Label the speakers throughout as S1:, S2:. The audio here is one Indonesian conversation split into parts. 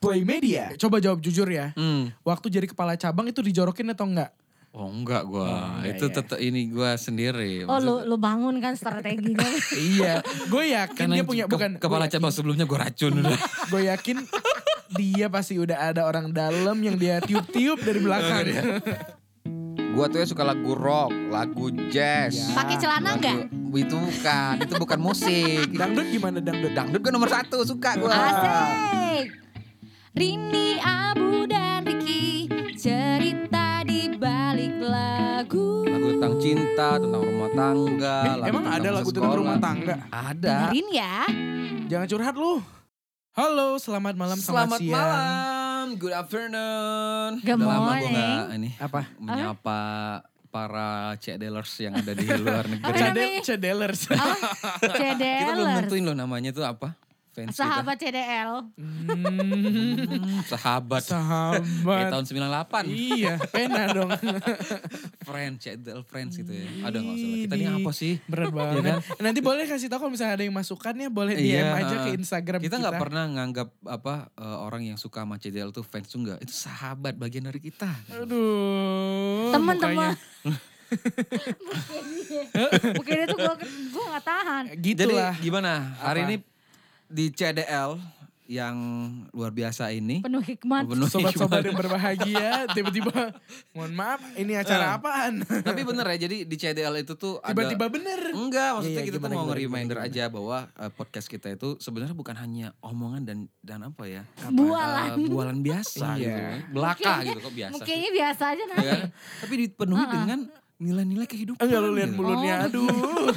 S1: Boy Media.
S2: Coba jawab jujur ya.
S3: Hmm.
S2: Waktu jadi kepala cabang itu dijorokin atau enggak?
S3: Oh enggak gua.
S2: enggak
S3: itu
S4: iya.
S2: ya.
S3: tetep ini gua sendiri.
S5: Oh lu,
S3: Maksud-
S5: lu bangun kan strateginya.
S2: iya. Gue yakin
S3: Karena
S2: dia punya
S3: ke-
S2: bukan
S3: kepala cabang sebelumnya gua racun udah.
S2: Gue yakin dia pasti udah ada orang dalam yang dia tiup-tiup dari belakang.
S4: Gua tuh ya suka lagu rock, lagu jazz.
S5: Pakai celana
S4: Lagu-
S5: Iya. enggak?
S4: Itu bukan, itu bukan musik.
S2: Dangdut gimana dangdut?
S4: Dangdut gue nomor satu, suka gue.
S5: Asik. Rini Abu dan Riki cerita di balik lagu.
S4: Lagu tentang cinta, tentang rumah tangga.
S3: Eh,
S2: Emang ada
S4: masa
S2: lagu tentang
S4: sekolah.
S2: rumah tangga?
S4: Ada.
S5: Dengerin ya.
S2: Jangan curhat lu. Halo, selamat malam, selamat
S3: Selamat
S2: siang.
S3: malam, good afternoon.
S5: Good
S3: Udah lama gua
S5: morning.
S3: nggak ini
S2: Apa?
S3: menyapa para cedelers yang ada di luar negeri.
S5: Apa
S2: Cede,
S5: namanya?
S2: cedelers.
S5: Oh,
S3: Kita belum
S5: CDL.
S3: nentuin loh namanya tuh apa. Fans
S5: Sahabat
S2: Hmm,
S5: CDL.
S3: kita. Hmm, sahabat. Kayak
S2: sahabat.
S3: tahun 98.
S2: iya, pena dong.
S3: Friends, cedel friends gitu ya. Ada nggak usah. lah. Kita ini apa sih?
S2: Berat banget.
S3: kan?
S2: Nanti boleh kasih tahu kalau misalnya ada yang masukannya boleh DM
S3: Iya,
S2: aja ke
S3: eh.
S2: Instagram kita.
S3: Kita nggak pernah nganggap apa eh, orang yang suka sama CDL tuh fans tuh nggak. Itu sahabat bagian dari kita.
S2: Aduh.
S5: Teman-teman.
S2: Hmm, mukanya.
S5: Mungkin itu gua gua gak tahan.
S2: Gitu
S3: Jadi
S2: lah.
S3: gimana? Hari
S2: Apa?
S3: ini di CDL yang luar biasa ini.
S5: Penuh hikmat.
S3: Penuh
S2: Sobat-sobat yang
S3: hikmat.
S2: berbahagia tiba-tiba mohon maaf ini acara apaan?
S3: Tapi bener ya, jadi di CDL itu tuh ada...
S2: Tiba-tiba bener.
S3: Enggak,
S2: Iya, iya,
S3: maksudnya kita
S2: gimana,
S3: tuh mau
S2: gimana,
S3: nge-reminder
S2: gimana,
S3: aja bahwa eh, podcast kita itu sebenarnya bukan hanya omongan dan dan apa ya?
S5: Bualan.
S3: Eh, bualan
S2: Iya.
S3: biasa gitu. Belaka gitu kok biasa. sih.
S5: Mukanya biasa aja nah.
S3: Ya kan? Tapi dipenuhi dengan nilai-nilai kehidupan.
S2: Enggak lu lihat
S3: gitu.
S2: mulutnya,
S5: Oh.
S2: aduh.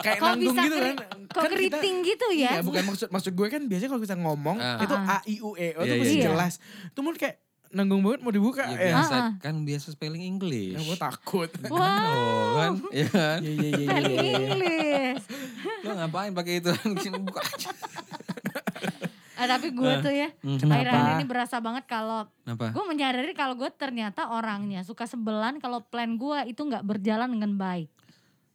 S2: Kayak
S5: Kok
S2: nanggung
S5: bisa
S2: gitu kan.
S5: keri- kok
S2: Kan kita-
S5: keriting gitu ya?
S2: Iya, bukan maksud maksud gue kan biasanya kalau kita ngomong
S3: Ah.
S2: itu
S5: Ah.
S2: A I U E O itu
S3: Iya, iya,
S2: mesti
S5: iya.
S2: jelas. Itu mulut kayak nanggung banget mau dibuka.
S3: Ya,
S2: Ya,
S3: biasa,
S5: Ah, ah.
S3: kan biasa spelling
S2: Ya,
S3: English.
S2: gue takut.
S5: Wah,
S3: Oh, kan? Iya kan?
S2: Iya iya iya.
S5: paling Inggris.
S3: Lo ngapain pakai itu? Buka aja.
S5: Ah, tapi gue tuh ya,
S2: Mhm.
S5: akhir-akhir ini berasa banget kalau
S3: Kenapa?
S5: gue menyadari kalau gue ternyata orangnya suka sebelan kalau plan gue itu nggak berjalan dengan baik.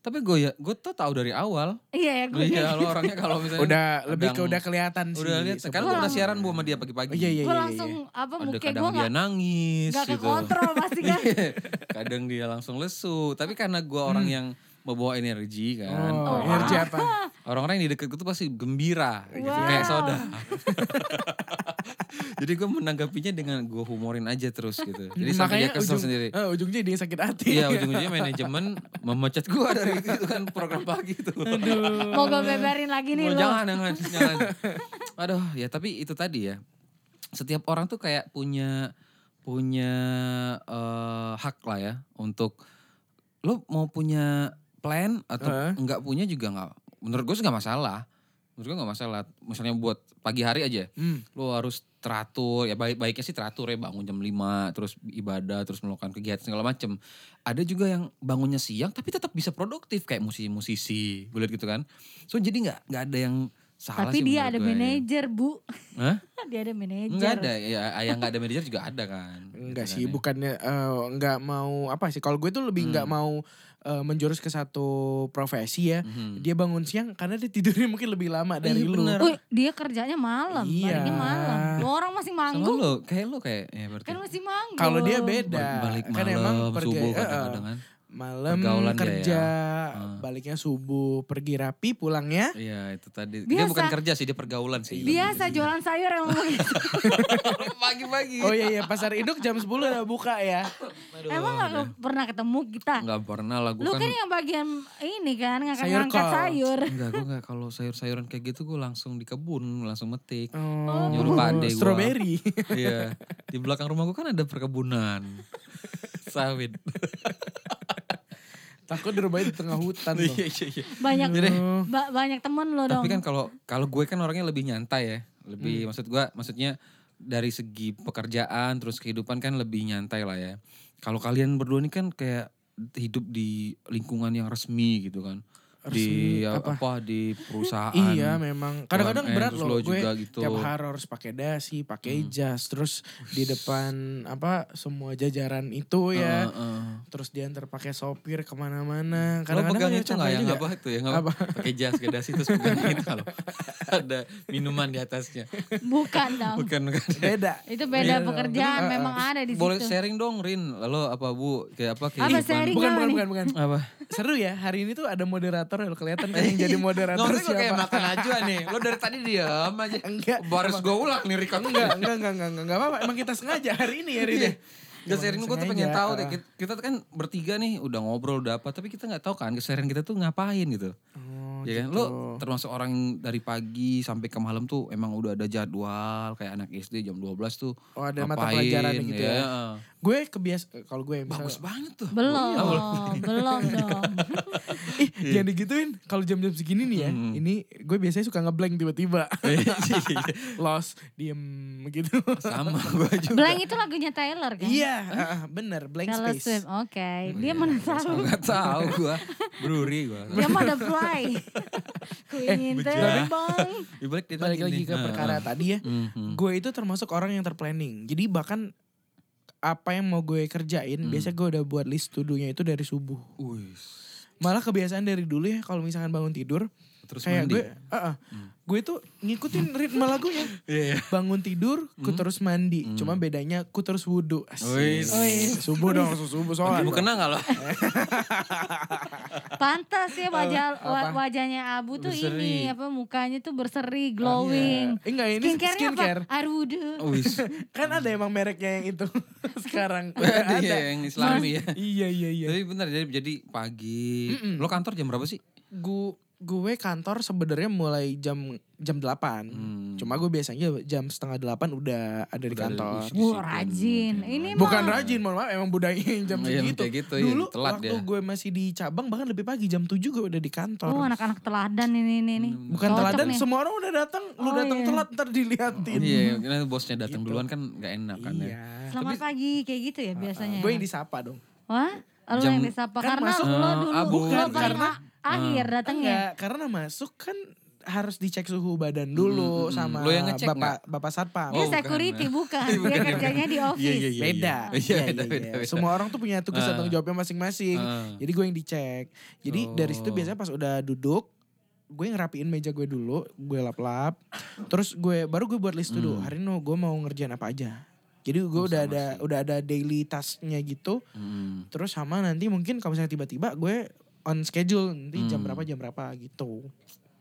S3: Tapi gue ya, gue tuh tahu dari awal.
S5: Iya ya gue.
S3: Iya, lo orangnya kalau misalnya
S2: Udah lebih ke
S3: kadang-
S2: udah kelihatan sih.
S3: udah lihat. Sekarang gue
S2: sebelum-
S3: udah siaran gue sama dia pagi-pagi.
S2: Oh, iya, iya.
S5: gue langsung apa
S3: Ada
S5: muka
S3: kadang dia
S5: gue nggak
S3: nangis
S5: nggak
S3: gitu.
S5: kekontrol pasti kan.
S3: kadang dia langsung lesu. Tapi karena gue orang yang membawa energi kan.
S2: Oh,
S3: orang-
S2: energi apa?
S3: Orang-orang yang di deket gue tuh pasti gembira. gitu,
S5: Wow.
S3: Kayak soda. Jadi gue menanggapinya dengan gue humorin aja terus gitu. Jadi sampai dia kesel
S2: ujung-
S3: sendiri.
S2: eh, ujungnya dia sakit hati.
S3: Iya ujung-ujungnya manajemen memecat gue dari itu kan program pagi itu.
S5: Mau gue beberin lagi nih
S3: Oh,
S5: lo.
S3: Iya. jangan, jangan, jangan. Aduh, ya tapi itu tadi ya. Setiap orang tuh kayak punya punya eh, hak lah ya untuk lo mau punya plan atau
S2: Heeh.
S3: nggak punya juga nggak. Menurut gue sih nggak masalah. Menurut gue nggak masalah. Misalnya buat pagi hari aja,
S2: Hmm.
S3: lo harus teratur ya baik baiknya sih teratur ya bangun jam 5 terus ibadah terus melakukan kegiatan segala macem ada juga yang bangunnya siang tapi tetap bisa produktif kayak musisi-musisi gue liat gitu kan so jadi nggak nggak ada yang salah
S5: Tapi
S3: sih
S5: dia
S3: menurut
S5: ada
S3: gue.
S5: manajer bu.
S3: Hah?
S5: dia ada manajer.
S3: nggak ada ya ayah nggak ada manajer juga ada kan
S2: Enggak
S3: Gitu
S2: sih,
S3: kan ya.
S2: bukannya eh, enggak mau apa sih? Kalau gue tuh lebih enggak
S3: Hmm.
S2: mau eh, menjurus ke satu profesi ya.
S3: Mhm.
S2: Dia bangun siang karena dia tidurnya mungkin lebih lama dari
S3: Iya,
S2: lu.
S3: bener.
S5: Wih, dia kerjanya malam,
S2: Iya.
S5: baliknya malam. Lu orang masih
S3: sama
S5: manggung,
S3: lo kayak lo kayak ya berarti
S5: kan masih manggung.
S2: Kalau dia
S3: Bal-
S2: beda,
S3: balik
S2: kan
S3: malam
S2: emang
S3: subuh
S2: eh, eh,
S3: kadang-kadang kan
S2: malam
S3: Pergaulan dia
S2: kerja,
S3: ya. Ah.
S2: baliknya subuh, pergi rapi, pulangnya
S3: iya itu tadi dia
S5: Biasa.
S3: bukan kerja sih dia pergaulan sih
S5: Biasa jualan sayur emang begitu.
S3: pagi-pagi
S2: Oh iya iya pasar induk jam 10 udah buka ya.
S5: Emang gak pernah ketemu kita.
S3: nggak pernah lah gue
S5: Lu
S3: kan
S5: kan yang bagian ini kan
S2: Sayur
S5: ngangkat-ngangkat
S2: kol.
S5: sayur.
S3: Enggak, gue enggak kalau sayur-sayuran kayak gitu gue langsung di kebun, langsung metik.
S2: Oh,
S3: Nyuruh Pak Ade gua.
S2: strawberry.
S3: Iya, di belakang rumah gue kan ada perkebunan. Sawit.
S2: Takut di rumahnya di tengah hutan loh.
S3: Iya, iya, iya.
S5: Banyak
S3: Jadi,
S5: ba- banyak temen lo dong.
S3: Tapi kan kalau kalau gue kan orangnya lebih nyantai ya.
S2: Hmm.
S3: Lebih maksud gue maksudnya dari segi pekerjaan terus kehidupan kan lebih nyantai lah ya. Kalau kalian berdua ini kan kayak hidup di lingkungan yang resmi gitu kan.
S2: resmi
S3: di apa,
S2: apa?
S3: di perusahaan.
S2: Iya memang. Kadang-kadang
S3: UMN,
S2: berat loh
S3: terus lo
S2: gue
S3: juga gitu.
S2: tiap hari harus pakai dasi, pakai
S3: Hmm.
S2: jas, terus di depan apa semua jajaran itu ya,
S3: Heeh, heeh.
S2: terus diantar pakai sopir kemana-mana.
S3: Lo
S2: Kadang-kadang ya
S3: pegang kan itu nggak
S2: capek
S3: yang
S2: juga.
S3: apa itu yang apa?
S2: Apa?
S3: Pakai jas ke dasi terus pegang itu loh. Ada minuman di atasnya.
S5: Bukan dong.
S3: Bukan bukan.
S2: Beda.
S5: Itu
S3: Iya,
S5: beda pekerjaan,
S2: kan,
S3: bener.
S5: memang ada di
S3: Boleh
S5: situ.
S3: sharing dong Rin, lalu apa Bu? Kayak apa kehidupan?
S5: sharing?
S2: Bukan,
S5: Gimana
S2: bukan,
S5: nih?
S2: bukan, bukan.
S3: Apa?
S2: Seru ya, hari ini tuh ada moderator ya, lo kelihatan kan yang jadi moderator
S3: Iya. Ngomongnya gue kayak
S2: siapa.
S3: makan aja nih. Lo dari tadi diam aja.
S2: Enggak.
S3: Baris gue ulang nih Rika.
S2: Enggak, enggak, enggak, enggak, enggak, enggak apa-apa. Emang kita sengaja hari ini, ya, hari ini.
S3: Iya. Gak sharing
S2: Emang
S3: gue tuh pengen
S2: sengaja,
S3: tahu deh.
S2: ah.
S3: Kita- Kita kan bertiga nih udah ngobrol udah apa. Tapi kita gak tahu kan keseharian kita tuh ngapain gitu.
S2: Oh,
S3: ya kan?
S2: gitu.
S3: Lo termasuk orang yang dari pagi sampai ke malam tuh emang udah ada jadwal. Kayak anak SD jam 12 tuh.
S2: Oh, ada mata
S3: ngapain,
S2: pelajaran gitu ya. Gue kebiasa, kalau gue misalnya-
S3: Bagus banget tuh.
S5: Belum,
S3: Iya, boleh.
S5: belum dong.
S2: Ih,
S3: Iya.
S2: jangan digituin. Kalau jam-jam segini nih ya, ini gue biasanya suka ngeblank tiba-tiba.
S3: Iya.
S2: Los, diem gitu.
S3: Sama gue juga.
S5: Blank itu lagunya Taylor kan?
S2: Iya, ah, bener, blank
S5: Taylor
S2: space.
S5: Swift, oke. Dia mana tahu.
S3: Gak tau gue. Bruri gue.
S5: Dia mah ada fly. Ku ingin
S3: bujang.
S5: terbang.
S3: Dibalik dia
S2: Balik
S3: tadi
S2: lagi
S3: nih.
S2: ke
S3: Ah,
S2: perkara
S3: ah.
S2: tadi ya.
S3: Mhm.
S2: Gue itu termasuk orang yang terplanning. Jadi bahkan apa yang mau gue kerjain,
S3: Hmm.
S2: biasanya gue udah buat list to-do-nya itu dari subuh.
S3: Wih.
S2: Malah kebiasaan dari dulu ya, kalau misalkan bangun tidur,
S3: Terus
S2: kayak
S3: mandi.
S2: gue, ah, ah, gue tuh ngikutin ritme lagunya.
S3: Hmm. Iya. Hmm.
S2: bangun tidur ku terus mandi cuma bedanya ku terus wudhu Asik.
S3: Wis. Wis.
S2: subuh dong langsung subuh sholat
S3: Bukan kena gak lo?
S5: Pantas ya wajah
S2: apa?
S5: wa- wajahnya Abu tuh
S3: Berseri.
S5: ini apa mukanya tuh berseri, glowing.
S2: Iya. Eh, enggak ini
S5: Skincare-nya
S2: skincare
S5: apa? Air wudhu.
S3: Wis.
S2: kan ada emang mereknya yang itu sekarang
S3: Ada
S2: ada
S3: yang islami ya.
S2: iya iya iya
S3: Tapi benar jadi jadi pagi. Lo kantor jam berapa sih?
S2: Gu- gue kantor sebenarnya mulai jam jam 8
S3: Hmm.
S2: cuma gue biasanya jam setengah 8 udah ada di
S3: Udah ada
S2: kantor
S3: di-
S5: Wah rajin. Ini
S2: Bukan
S5: mah
S2: rajin, mohon maaf emang budayanya yang jam
S3: Iya,
S2: segitu.
S3: kayak gitu, iya,
S2: Dulu
S3: telat
S2: waktu
S3: dia.
S2: gue masih di cabang bahkan lebih pagi jam 7 gue udah di kantor.
S5: Oh anak-anak teladan ini ini nih.
S2: Bukan
S5: Cocok
S2: teladan,
S5: nih.
S2: semua orang udah datang, lu
S5: Oh,
S2: datang
S5: iya.
S2: telat ntar diliatin.
S3: Iya, karena bosnya datang duluan kan gak enak kan ya.
S2: Gitu. Iya.
S5: Selamat pagi kayak gitu
S2: Ah,
S5: ya biasanya.
S2: Gue
S5: ya?
S2: yang disapa dong.
S5: Wah, lu
S3: Jam-
S5: yang disapa
S2: Kan
S5: karena
S2: masuk-
S5: lo dulu
S3: Ah, bukan,
S5: lo paling
S2: karena- Ah,
S5: a- akhir datangnya.
S2: Enggak, karena masuk kan harus dicek suhu badan dulu
S3: Mm, mm, mm.
S2: sama
S3: Lo yang ngecek
S2: bapak bapak satpam.
S3: Oh,
S5: Dia
S3: bukan.
S5: security bukan,
S2: Iya,
S5: dia
S3: Bukan,
S5: kerjanya di office.
S2: beda.
S3: Iya,
S2: Iya,
S3: beda,
S2: iya,
S3: beda,
S2: iya.
S3: beda.
S2: Semua gitu. orang tuh punya tugas dan
S3: Ah.
S2: tanggung jawabnya masing-masing.
S3: Ah.
S2: Jadi gue yang dicek. Jadi dari situ
S3: Oh.
S2: biasanya pas udah duduk, gue ngerapiin meja gue dulu, gue lap-lap. Terus gue baru gue buat list dulu. Hari ini gue mau ngerjain apa aja. Jadi gue
S3: Hmm. Oh,
S2: udah
S3: sama
S2: ada
S3: sih.
S2: udah ada daily tasknya gitu.
S3: Hmm.
S2: Terus sama nanti mungkin kalau misalnya tiba-tiba gue on schedule nanti jam
S3: Hmm.
S2: berapa jam berapa gitu.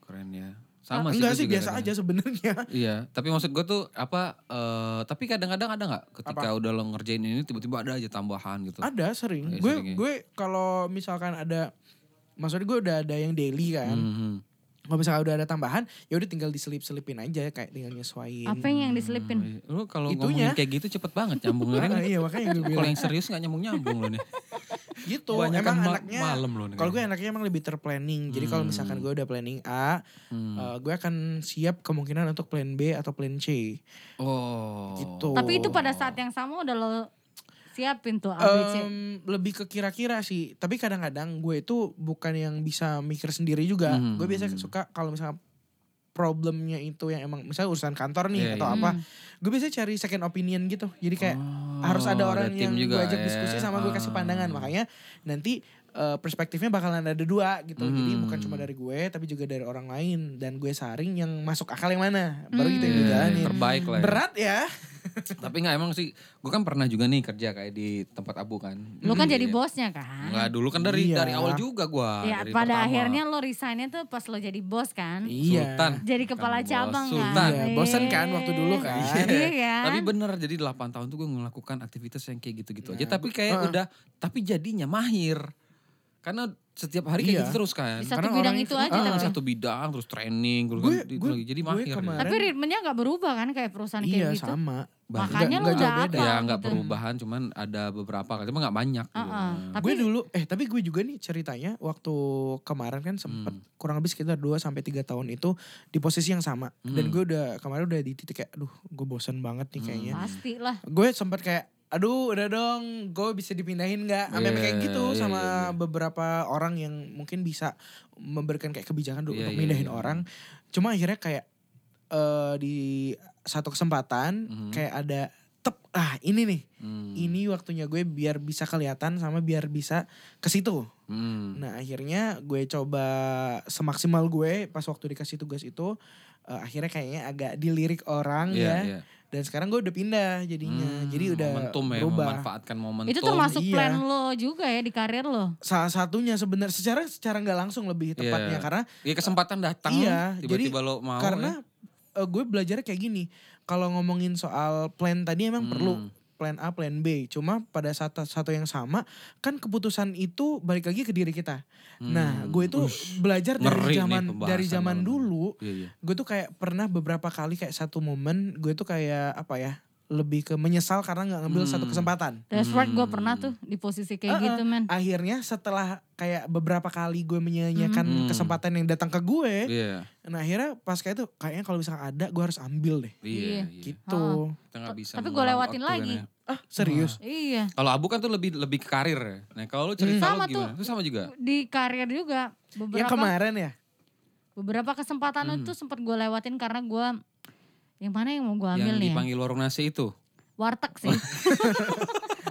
S3: Keren ya. Sama sih.
S2: Enggak
S3: gue
S2: sih
S3: juga kan?
S2: biasa
S3: kadang.
S2: aja sebenarnya.
S3: Iya, tapi maksud gue tuh apa? eh, tapi kadang-kadang ada nggak ketika udah lo ngerjain ini tiba-tiba ada aja tambahan gitu.
S2: Ada sering.
S3: Iya,
S2: gue
S3: sering ya.
S2: gue kalau misalkan ada maksudnya gue udah ada yang daily kan.
S3: Mhm.
S2: Kalau misalkan udah ada tambahan, ya udah tinggal diselip-selipin aja kayak tinggal nyesuaiin.
S5: Apa yang diselipin?
S3: Lo kalau
S2: Itunya.
S3: ngomongin kayak gitu cepet banget nyambung lo
S2: Ah, iya
S3: nih.
S2: makanya gue
S3: Kalau
S2: bilang
S3: yang serius nggak nyambung nyambung lo nih.
S2: gitu.
S3: Kebanyakan
S2: Emang
S3: ma-
S2: anaknya
S3: malam gitu. lo nih.
S2: kalau ya- gue anaknya emang lebih terplanning. Jadi kalau misalkan gue udah planning A,
S3: Hmm.
S2: eh, gue akan siap kemungkinan untuk plan B atau plan C.
S3: Oh.
S2: Gitu.
S5: Tapi itu pada saat yang sama udah lo siapin tuh ABC.
S2: Em, lebih ke kira-kira sih. Tapi kadang-kadang gue itu bukan yang bisa mikir sendiri juga.
S3: Hmm.
S2: Gue biasa suka kalau misalnya problemnya itu yang emang misalnya urusan kantor nih
S3: Iya,
S2: atau
S3: iya.
S2: apa,
S5: Hmm.
S2: gue biasa cari second opinion gitu. Jadi kayak
S3: Oh,
S2: harus ada orang yang gue ajak
S3: ya.
S2: diskusi sama gue
S3: Ah.
S2: kasih pandangan. Makanya nanti eh, perspektifnya bakalan ada dua gitu. Jadi
S3: Hmm.
S2: bukan cuma dari gue tapi juga dari orang lain dan gue saring yang masuk akal yang mana. Baru kita yang
S5: Hmm.
S2: dijalanin.
S3: Iya, Terbaik lah. ya.
S2: Berat ya.
S3: Tapi nggak emang sih, gue kan pernah juga nih kerja kayak di tempat abu kan.
S5: Lo kan
S2: Hmm,
S3: Iya.
S5: jadi bosnya kan?
S3: Nggak dulu kan dari
S2: Iya.
S3: dari awal juga gue.
S5: Ya
S3: dari
S5: pada
S3: pertama.
S5: akhirnya lo resignnya tuh pas lo jadi bos kan?
S3: Sultan.
S5: Jadi
S2: kan
S5: kepala
S3: bos,
S5: cabang
S3: sultan.
S5: kan?
S2: Iya, bosen kan waktu dulu kan?
S5: Iya kan?
S3: Tapi bener jadi 8 tahun tuh gue melakukan aktivitas yang kayak gitu-gitu aja. Tapi kayak
S2: Iya. Heeh.
S3: udah, tapi jadinya mahir. Karena setiap hari kayak
S2: Iya.
S3: gitu terus kan.
S5: Di satu
S2: Karena
S5: bidang
S2: orang
S5: itu
S2: itu-
S5: aja
S3: Ah,
S5: tapi.
S3: satu bidang terus training gitu
S2: Gue-
S3: kan, di-
S2: gue-
S3: lagi jadi
S2: gue
S3: mahir. ya.
S2: kemarin-
S5: Tapi ritmenya nggak berubah kan kayak perusahaan
S2: Iya
S5: kayak gitu?
S2: sama.
S3: Bang,
S5: Makanya
S2: Nggak-
S5: lo
S2: nggak
S5: udah
S2: jauh beda.
S5: apa?
S3: ya nggak
S5: gitu.
S3: perubahan cuman ada beberapa kali cuma nggak banyak gitu.
S5: Heeh. Tapi
S2: gue dulu eh tapi gue juga nih ceritanya waktu kemarin kan sempet kurang lebih sekitar 2 sampai 3 tahun itu di posisi yang sama dan
S3: Hmm.
S2: gue udah kemarin udah di titik kayak aduh gue bosen banget nih kayaknya.
S5: pasti lah.
S2: Gue sempet kayak aduh udah dong gue bisa dipindahin nggak sampai
S3: Iya,
S2: kayak gitu
S3: iya,
S2: sama
S3: iya, iya.
S2: beberapa orang yang mungkin bisa memberikan kayak kebijakan du-
S3: Iya,
S2: untuk
S3: iya,
S2: mindahin
S3: iya.
S2: orang cuma akhirnya kayak eh, di satu kesempatan
S3: Mhm.
S2: kayak ada tep ah ini nih
S3: Hmm.
S2: ini waktunya gue biar bisa kelihatan sama biar bisa ke situ
S3: Hmm.
S2: Nah akhirnya gue coba semaksimal gue pas waktu dikasih tugas itu eh, akhirnya kayaknya agak dilirik orang
S3: Iya,
S2: ya
S3: iya.
S2: dan sekarang gue udah pindah jadinya
S3: Hmm,
S2: jadi udah
S3: momentum ya,
S2: berubah
S3: memanfaatkan momentum.
S5: Itu termasuk
S2: iya.
S5: plan lo juga ya di karir lo.
S2: salah satunya sebenarnya secara secara nggak langsung lebih tepatnya
S3: Iya.
S2: karena
S3: Ya kesempatan datang.
S2: Iya,
S3: Tiba-tiba lo mau.
S2: karena
S3: ya.
S2: eh, gue belajar kayak gini kalau ngomongin soal plan tadi emang
S3: Hmm.
S2: perlu plan A plan B cuma pada satu satu yang sama kan keputusan itu balik lagi ke diri kita nah
S3: Hmm.
S2: gue itu
S3: Ush,
S2: belajar dari
S3: ngeri nih
S2: zaman
S3: pembahasan
S2: dari zaman
S3: malam ini.
S2: dulu
S3: Iya, iya.
S2: gue tuh kayak pernah beberapa kali kayak satu momen gue tuh kayak apa ya lebih ke menyesal karena nggak ngambil satu
S3: Hmm.
S2: kesempatan
S5: That's right gue
S3: Hmm.
S5: pernah tuh di posisi kayak
S2: Uh-uh.
S5: gitu men.
S2: akhirnya setelah kayak beberapa kali gue menyanyikan
S3: Hmm.
S2: kesempatan yang datang ke gue
S3: Iya,
S2: nah akhirnya pas kayak itu kayaknya kalau misalnya ada gue harus ambil deh
S3: iya,
S5: Iya.
S3: iya.
S2: gitu
S3: Kita nggak bisa
S5: Tapi gue
S3: mengulang
S5: lewatin
S3: waktu kan
S5: lagi.
S3: ya.
S2: ah serius
S5: Iya.
S3: Kalau abu kan tuh lebih lebih ke karir. ya. Nah kalau lu cerita
S5: Sama
S3: lu gimana?
S5: tuh.
S3: Itu sama juga.
S5: Di karir juga
S2: yang
S5: beberapa
S2: kemarin ya
S5: beberapa kesempatan
S3: Hmm.
S5: itu sempat gue lewatin karena gue yang mana yang mau gue
S3: Yang
S5: ambil nih? ya?
S3: dipanggil warung nasi itu.
S5: Warteg sih.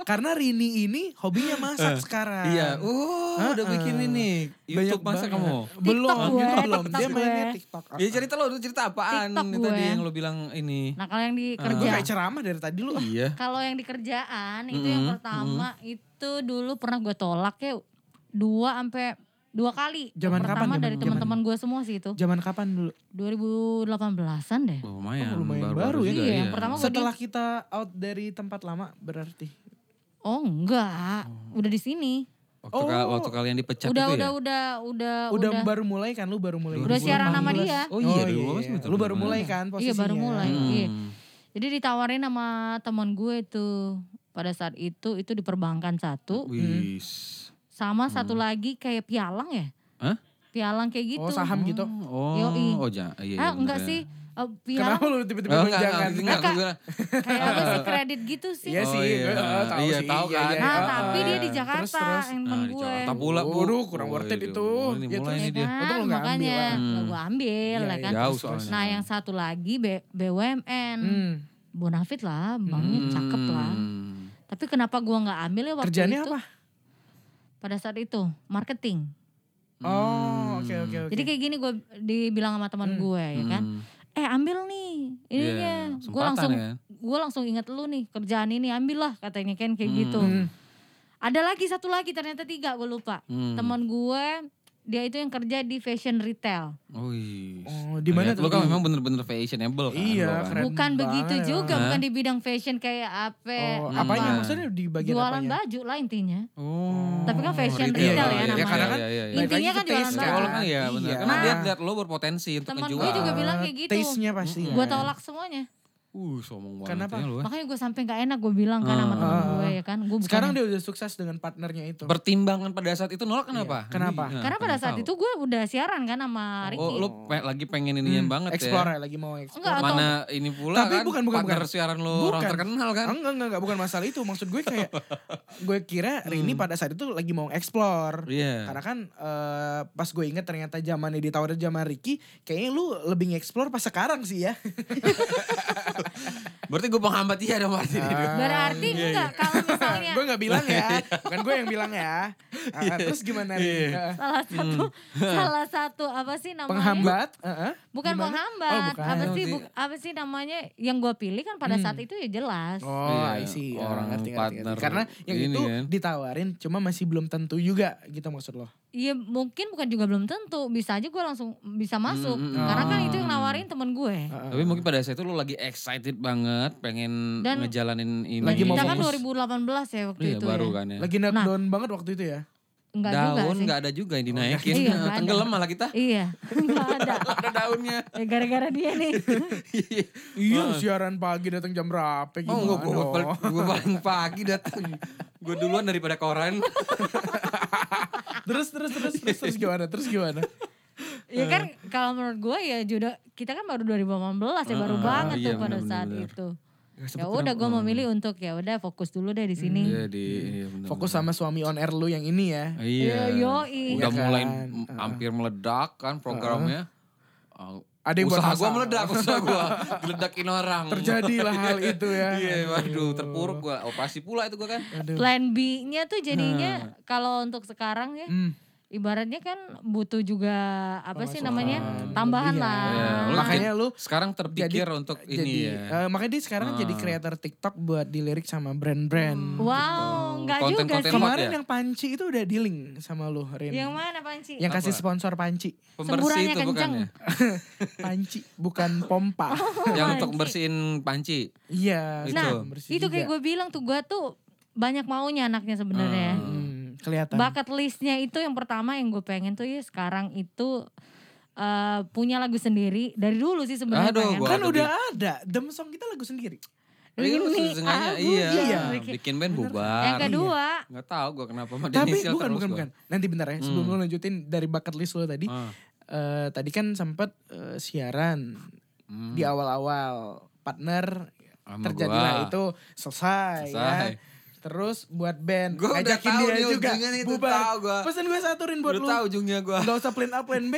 S2: karena Rini ini hobinya masak sekarang
S3: Iya. Uh, udah
S2: Ah,
S3: bikin
S2: ah.
S3: ini. YouTube masa
S2: Nah. banget.
S3: kamu?
S2: belum
S5: TikTok gue,
S2: belum dia
S5: TikTok
S2: mainnya
S5: gue.
S2: TikTok
S3: Ya cerita lo, lu cerita apaan?
S5: TikTok
S3: Itu
S5: gue.
S3: tadi yang lo bilang ini.
S5: nah kalau yang di
S3: Ah.
S2: gue
S5: kerja,
S2: kayak ceramah dari tadi lu
S3: Iya.
S5: kalau yang di kerjaan itu yang
S3: Mm-mm,
S5: pertama
S3: hmm.
S5: itu dulu pernah gue tolak ya dua sampai dua kali. Yang
S2: Zaman kapan,
S5: pertama
S2: zaman
S5: dari
S2: kapan?
S5: teman-teman gue semua sih itu.
S2: zaman kapan dulu
S5: 2018-an deh.
S3: Oh, lumayan,
S2: Oh, lumayan baru ya.
S3: juga,
S5: Iya, yang pertama gua di-
S2: setelah kita out dari tempat lama berarti
S5: Oh enggak, udah di sini.
S3: Waktu, kal-
S2: Oh.
S3: waktu kalian dipecat
S5: Udah,
S3: itu
S5: udah,
S3: ya?
S5: udah, Oh, udah,
S2: udah, baru mulai kan lu baru mulai
S5: Udah siaran sama dia.
S3: Oh iya,
S2: iya,
S3: 2018
S2: iya.
S3: betul,
S2: lu baru
S3: betul.
S2: mulai kan posisinya
S5: Iya, baru mulai.
S3: Hmm.
S5: Iya. Jadi ditawarin sama teman gue tuh pada saat itu itu di perbankan satu
S3: Wis.
S5: sama
S2: Hmm.
S5: satu lagi kayak pialang ya.
S3: Hah?
S5: Pialang kayak gitu.
S2: oh saham gitu
S3: Oh,
S5: Yoi.
S3: oh ja- iya, iya,
S5: Ah, enggak
S3: bener ya.
S5: sih. Eh, pialang
S2: kenapa lu tiba-tiba
S3: Oh,
S2: bilang
S3: enggak,
S2: jangan
S3: enggak, enggak,
S5: Kakak.
S3: gua-
S5: kayak apa sih kredit gitu sih.
S2: Iya
S3: Oh,
S2: sih,
S3: iya.
S2: gue, eh, tahu
S3: Iya,
S2: sih.
S3: tahu
S2: Iya,
S3: kan.
S2: iya,
S5: Nah,
S2: iya.
S5: tapi dia di
S2: Terus,
S5: Jakarta
S2: terus. Nah,
S5: yang
S3: Ah,
S5: temen
S3: di
S5: gue.
S3: Jakarta pula Bu.
S2: Waduh, kurang
S3: Oh,
S2: worth it
S3: iya,
S2: itu.
S3: dong. Ini
S2: Ya,
S3: mulai
S2: terus.
S5: Ya
S3: nih dia.
S5: kan,
S2: Untung lu nggak
S5: makanya
S2: ambil,
S3: kan?
S5: nggak gue ambil
S2: Iya,
S5: ya
S2: iya,
S5: kan.
S3: Jauh
S2: terus,
S3: soalnya.
S2: terus.
S5: Nah yang satu lagi B- BUMN.
S2: Hmm.
S5: Bonafit lah, banknya Hmm, cakep lah.
S3: Hmm.
S5: Tapi kenapa gua nggak ambil ya waktu
S2: Kerjanya
S5: itu?
S2: apa?
S5: Pada saat itu marketing.
S2: Oh,
S3: Hmm.
S2: oke oke oke.
S5: Jadi kayak gini gue dibilang sama teman
S2: Hmm.
S5: gue ya kan.
S3: Hmm.
S5: Eh ambil nih, ini
S3: Iya,
S5: ya. Gue
S3: kesempatan
S5: langsung
S3: ya.
S5: gue langsung ingat lu nih kerjaan ini ambil lah katanya kan kayak
S3: Hmm.
S5: gitu.
S2: Hmm.
S5: Ada lagi satu lagi ternyata tiga gue lupa.
S3: Hmm.
S5: Teman gue dia itu yang kerja di fashion retail.
S3: Wih.
S2: Oh, di mana
S3: iya.
S2: tuh?
S3: Lo kan memang bener-bener fashionable kan.
S2: Iya,
S3: lo kan.
S2: keren.
S5: bukan begitu
S2: banget.
S5: juga,
S3: Hah?
S5: bukan di bidang fashion kayak apa. ya?
S2: Oh,
S3: Hmm.
S2: apanya
S3: Apa?
S2: maksudnya di bagian
S5: Jualan
S2: apanya?
S5: baju lah intinya.
S3: Oh.
S5: Tapi kan fashion
S2: retail ya
S3: iya,
S2: namanya.
S3: karena kan
S2: Iya,
S3: iya,
S5: Intinya
S2: Balik lagi
S5: kan
S2: ke
S5: jualan
S2: taste
S5: baju.
S2: kan?
S3: Orang kan ya benar.
S2: Iya.
S3: Karena dia
S5: Nah.
S3: lihat lo berpotensi untuk
S5: Temen
S3: ngejual.
S5: gue juga bilang kayak gitu.
S2: Taste-nya pasti.
S3: Hmm.
S5: Gue
S2: ya.
S5: tolak semuanya.
S3: Uh, sombong banget.
S2: Kenapa?
S3: ya lo, eh.
S5: Makanya gue sampai nggak enak gue bilang kan sama temen
S2: Ah.
S5: gue ya kan. Gue
S2: Sekarang dia udah sukses dengan partnernya itu.
S3: Pertimbangan pada saat itu nolak kenapa?
S2: Iya. Kenapa?
S3: Wih, nah,
S5: karena pada
S3: pengen
S5: saat
S3: tahu.
S5: itu gue udah siaran kan sama Ricky.
S3: Oh, lo pe- lagi pengen
S2: Hmm,
S3: ininya banget
S2: explore
S3: ya.
S2: ya, lagi mau explore.
S5: Enggak, atau-
S3: Mana ini pula
S2: Tapi
S3: kan
S2: bukan, bukan,
S3: partner
S2: bukan.
S3: siaran lo orang
S2: Bukan.
S3: terkenal kan.
S2: Enggak, enggak, enggak, bukan masalah itu. Maksud gue kayak gue kira Rini
S3: Hmm.
S2: pada saat itu lagi mau explore.
S3: Iya.
S2: Karena kan eh, pas gue inget ternyata zamannya ditawarin zaman Ricky, kayaknya lu lebih nge-explore pas sekarang sih ya.
S3: Berarti gue penghambat iya dong berarti.
S2: Ah.
S5: Berarti
S2: iya,
S5: enggak kalau misalnya
S2: gue nggak bilang ya, bukan gue yang bilang ya. Ah,
S3: Iya.
S2: terus gimana Rini? Eh,
S5: salah satu salah satu apa sih namanya?
S2: Penghambat? Eh, eh.
S5: Bukan
S2: Gimana?
S5: penghambat.
S2: Oh, bukan.
S5: Apa
S3: Oh,
S5: sih
S3: di-
S5: bu- apa sih namanya yang gue pilih kan pada saat itu ya jelas.
S2: Oh,
S3: Iya,
S2: I see.
S3: orang
S2: Orang ngerti, ngerti,
S3: partner
S2: ngerti. Karena yang
S3: ini
S2: itu
S3: kan.
S2: ditawarin cuma masih belum tentu juga gitu maksud lo.
S5: Iya mungkin bukan juga belum tentu bisa aja gue langsung bisa masuk
S3: mm,
S5: karena kan
S2: Hmm, ah.
S5: itu yang nawarin temen gue.
S3: Tapi mungkin pada saat itu lo lagi excited banget, pengen
S5: Dan
S3: ngejalanin ini.
S2: lagi mau
S5: Kita kan
S2: fokus.
S5: 2018 ya waktu
S3: Iya,
S5: itu
S3: baru
S5: ya.
S3: kan ya.
S2: Lagi knock
S5: Nah.
S2: down banget waktu itu ya.
S5: Enggak juga
S3: Daun
S5: sih.
S3: nggak ada juga yang dinaikin.
S5: Iya, nggak ada.
S3: Tenggelam malah kita.
S5: Iya, enggak ada.
S3: Ada daunnya.
S5: Eh, Gara-gara dia nih.
S2: Iya, siaran pagi datang jam berapa gimana?
S3: Oh, gue gue
S2: dong?
S3: gue paling pagi datang. Gue duluan daripada koran.
S2: terus terus terus terus terus gimana? Terus gimana?
S5: Ya kan kalau menurut gue ya Juda, kita kan baru 2018 ya baru
S3: Heeh,
S5: banget
S3: iya,
S5: tuh pada
S3: benar-benar.
S5: saat itu. Ya udah gue memilih untuk ya udah fokus dulu deh di sini.
S3: Iya di iya, bener-bener.
S2: Fokus sama suami on air lu yang ini ya.
S3: Iya.
S5: Yo, yoi.
S2: Iya
S3: Udah
S2: kan?
S3: mulai m-
S2: Heeh.
S3: hampir meledak kan programnya. Ah,
S2: Ada yang buat
S3: usaha
S2: masalah.
S3: gue meledak, usaha gue diledakin orang.
S2: Terjadilah hal itu ya.
S3: Mm. Iya, waduh, terpuruk gue. Operasi pula itu gue kan.
S2: Aduh.
S5: Plan B-nya tuh jadinya kalau untuk sekarang ya
S2: Hmm.
S5: ibaratnya kan butuh juga apa sih namanya
S2: Pemasukan.
S5: tambahan
S2: Iya.
S5: lah.
S3: Iya, lu eh,
S2: Makanya lu
S3: Sekarang terpikir
S2: Jadi-
S3: untuk
S2: jadi
S3: ini ya.
S2: eh, makanya dia sekarang jadi creator TikTok buat dilirik sama
S5: Hmm.
S2: brand-brand.
S5: Wow, enggak
S3: Konten-
S5: juga
S3: konten
S5: sih.
S3: hot
S2: Kemarin
S3: ya?
S2: yang panci itu udah dealing sama lu Rin.
S5: Yang mana Panci?
S2: Yang kasih
S3: Apa?
S2: sponsor panci.
S3: Pembersih
S5: semburannya
S3: itu bukan
S5: kenceng.
S3: ya.
S2: Panci bukan pompa.
S3: Yang untuk
S5: Panci.
S3: bersihin panci.
S2: Iya.
S3: Itu.
S5: Oh. Nah,
S2: bersih
S5: itu kayak
S2: juga.
S5: gue bilang tuh gue tuh banyak maunya anaknya sebenarnya.
S2: Hmm, kelihatan.
S5: Bucket listnya itu yang pertama yang gue pengen tuh ya sekarang itu eh, punya lagu sendiri dari dulu sih sebenarnya.
S3: Aduh,
S5: pengen.
S3: gua-
S2: kan
S3: Waduh,
S2: udah ada. Dem song kita lagu sendiri.
S3: Iya, lu
S5: Ini
S3: sesungguhnya,
S5: aku
S3: iya.
S2: yang
S5: bikin.
S3: Bikin band
S5: Yang
S3: bubar.
S5: kedua,
S3: Gak tau gue kenapa sama
S2: Tapi
S3: Denisial
S2: bukan
S3: terus
S2: bukan
S3: gua.
S2: bukan. Nanti bentar ya. Sebelum
S3: Hmm.
S2: lu lanjutin dari bucket list lu tadi.
S3: Ah,
S2: eh, tadi kan sempat eh, siaran
S3: hmm.
S2: di awal-awal partner
S3: Sama
S2: terjadilah
S3: gua.
S2: itu selesai,
S3: Selesai.
S2: ya. Terus buat band
S3: Gua udah
S2: ngajakin
S3: tahu
S2: dia
S3: nih
S2: juga
S3: ujungnya nih, itu
S2: bubar.
S3: tahu gua.
S2: Pesan gue saturin buat
S3: Udah
S2: lu.
S3: tau ujungnya gue.
S2: Gak usah plan A, plan B.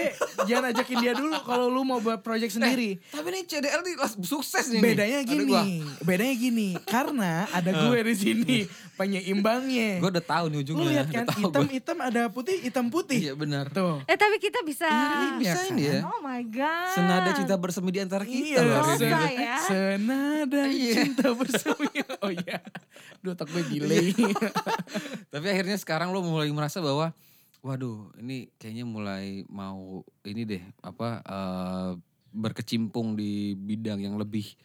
S2: Jangan ajakin dia dulu kalau lu mau buat
S3: Eh,
S2: project sendiri.
S3: Tapi nih CDL nih las- sukses nih.
S2: bedanya gini,
S3: Gue
S2: bedanya gini. Karena ada gue di sini penyeimbangnya.
S3: Eh. gua udah tahu nih ujungnya.
S2: Lu lihat kan
S3: ya, Udah tahu gua.
S2: hitam-hitam ada putih, hitam putih.
S3: Iya benar.
S2: Tuh.
S5: eh tapi kita bisa.
S2: Iya
S3: Bisa
S2: kan?
S3: ini ya.
S5: Oh my god.
S3: Senada cinta bersemi di antara kita.
S2: Iya,
S3: loh,
S5: Rosa
S3: Rin.
S2: senada-
S5: ya.
S2: Senada
S3: Iya.
S2: cinta bersemi. Oh iya. Duh, otak gue delay.
S3: Iya. Tapi akhirnya sekarang lo mulai merasa bahwa waduh, ini kayaknya mulai mau ini deh apa eh, berkecimpung di bidang yang lebih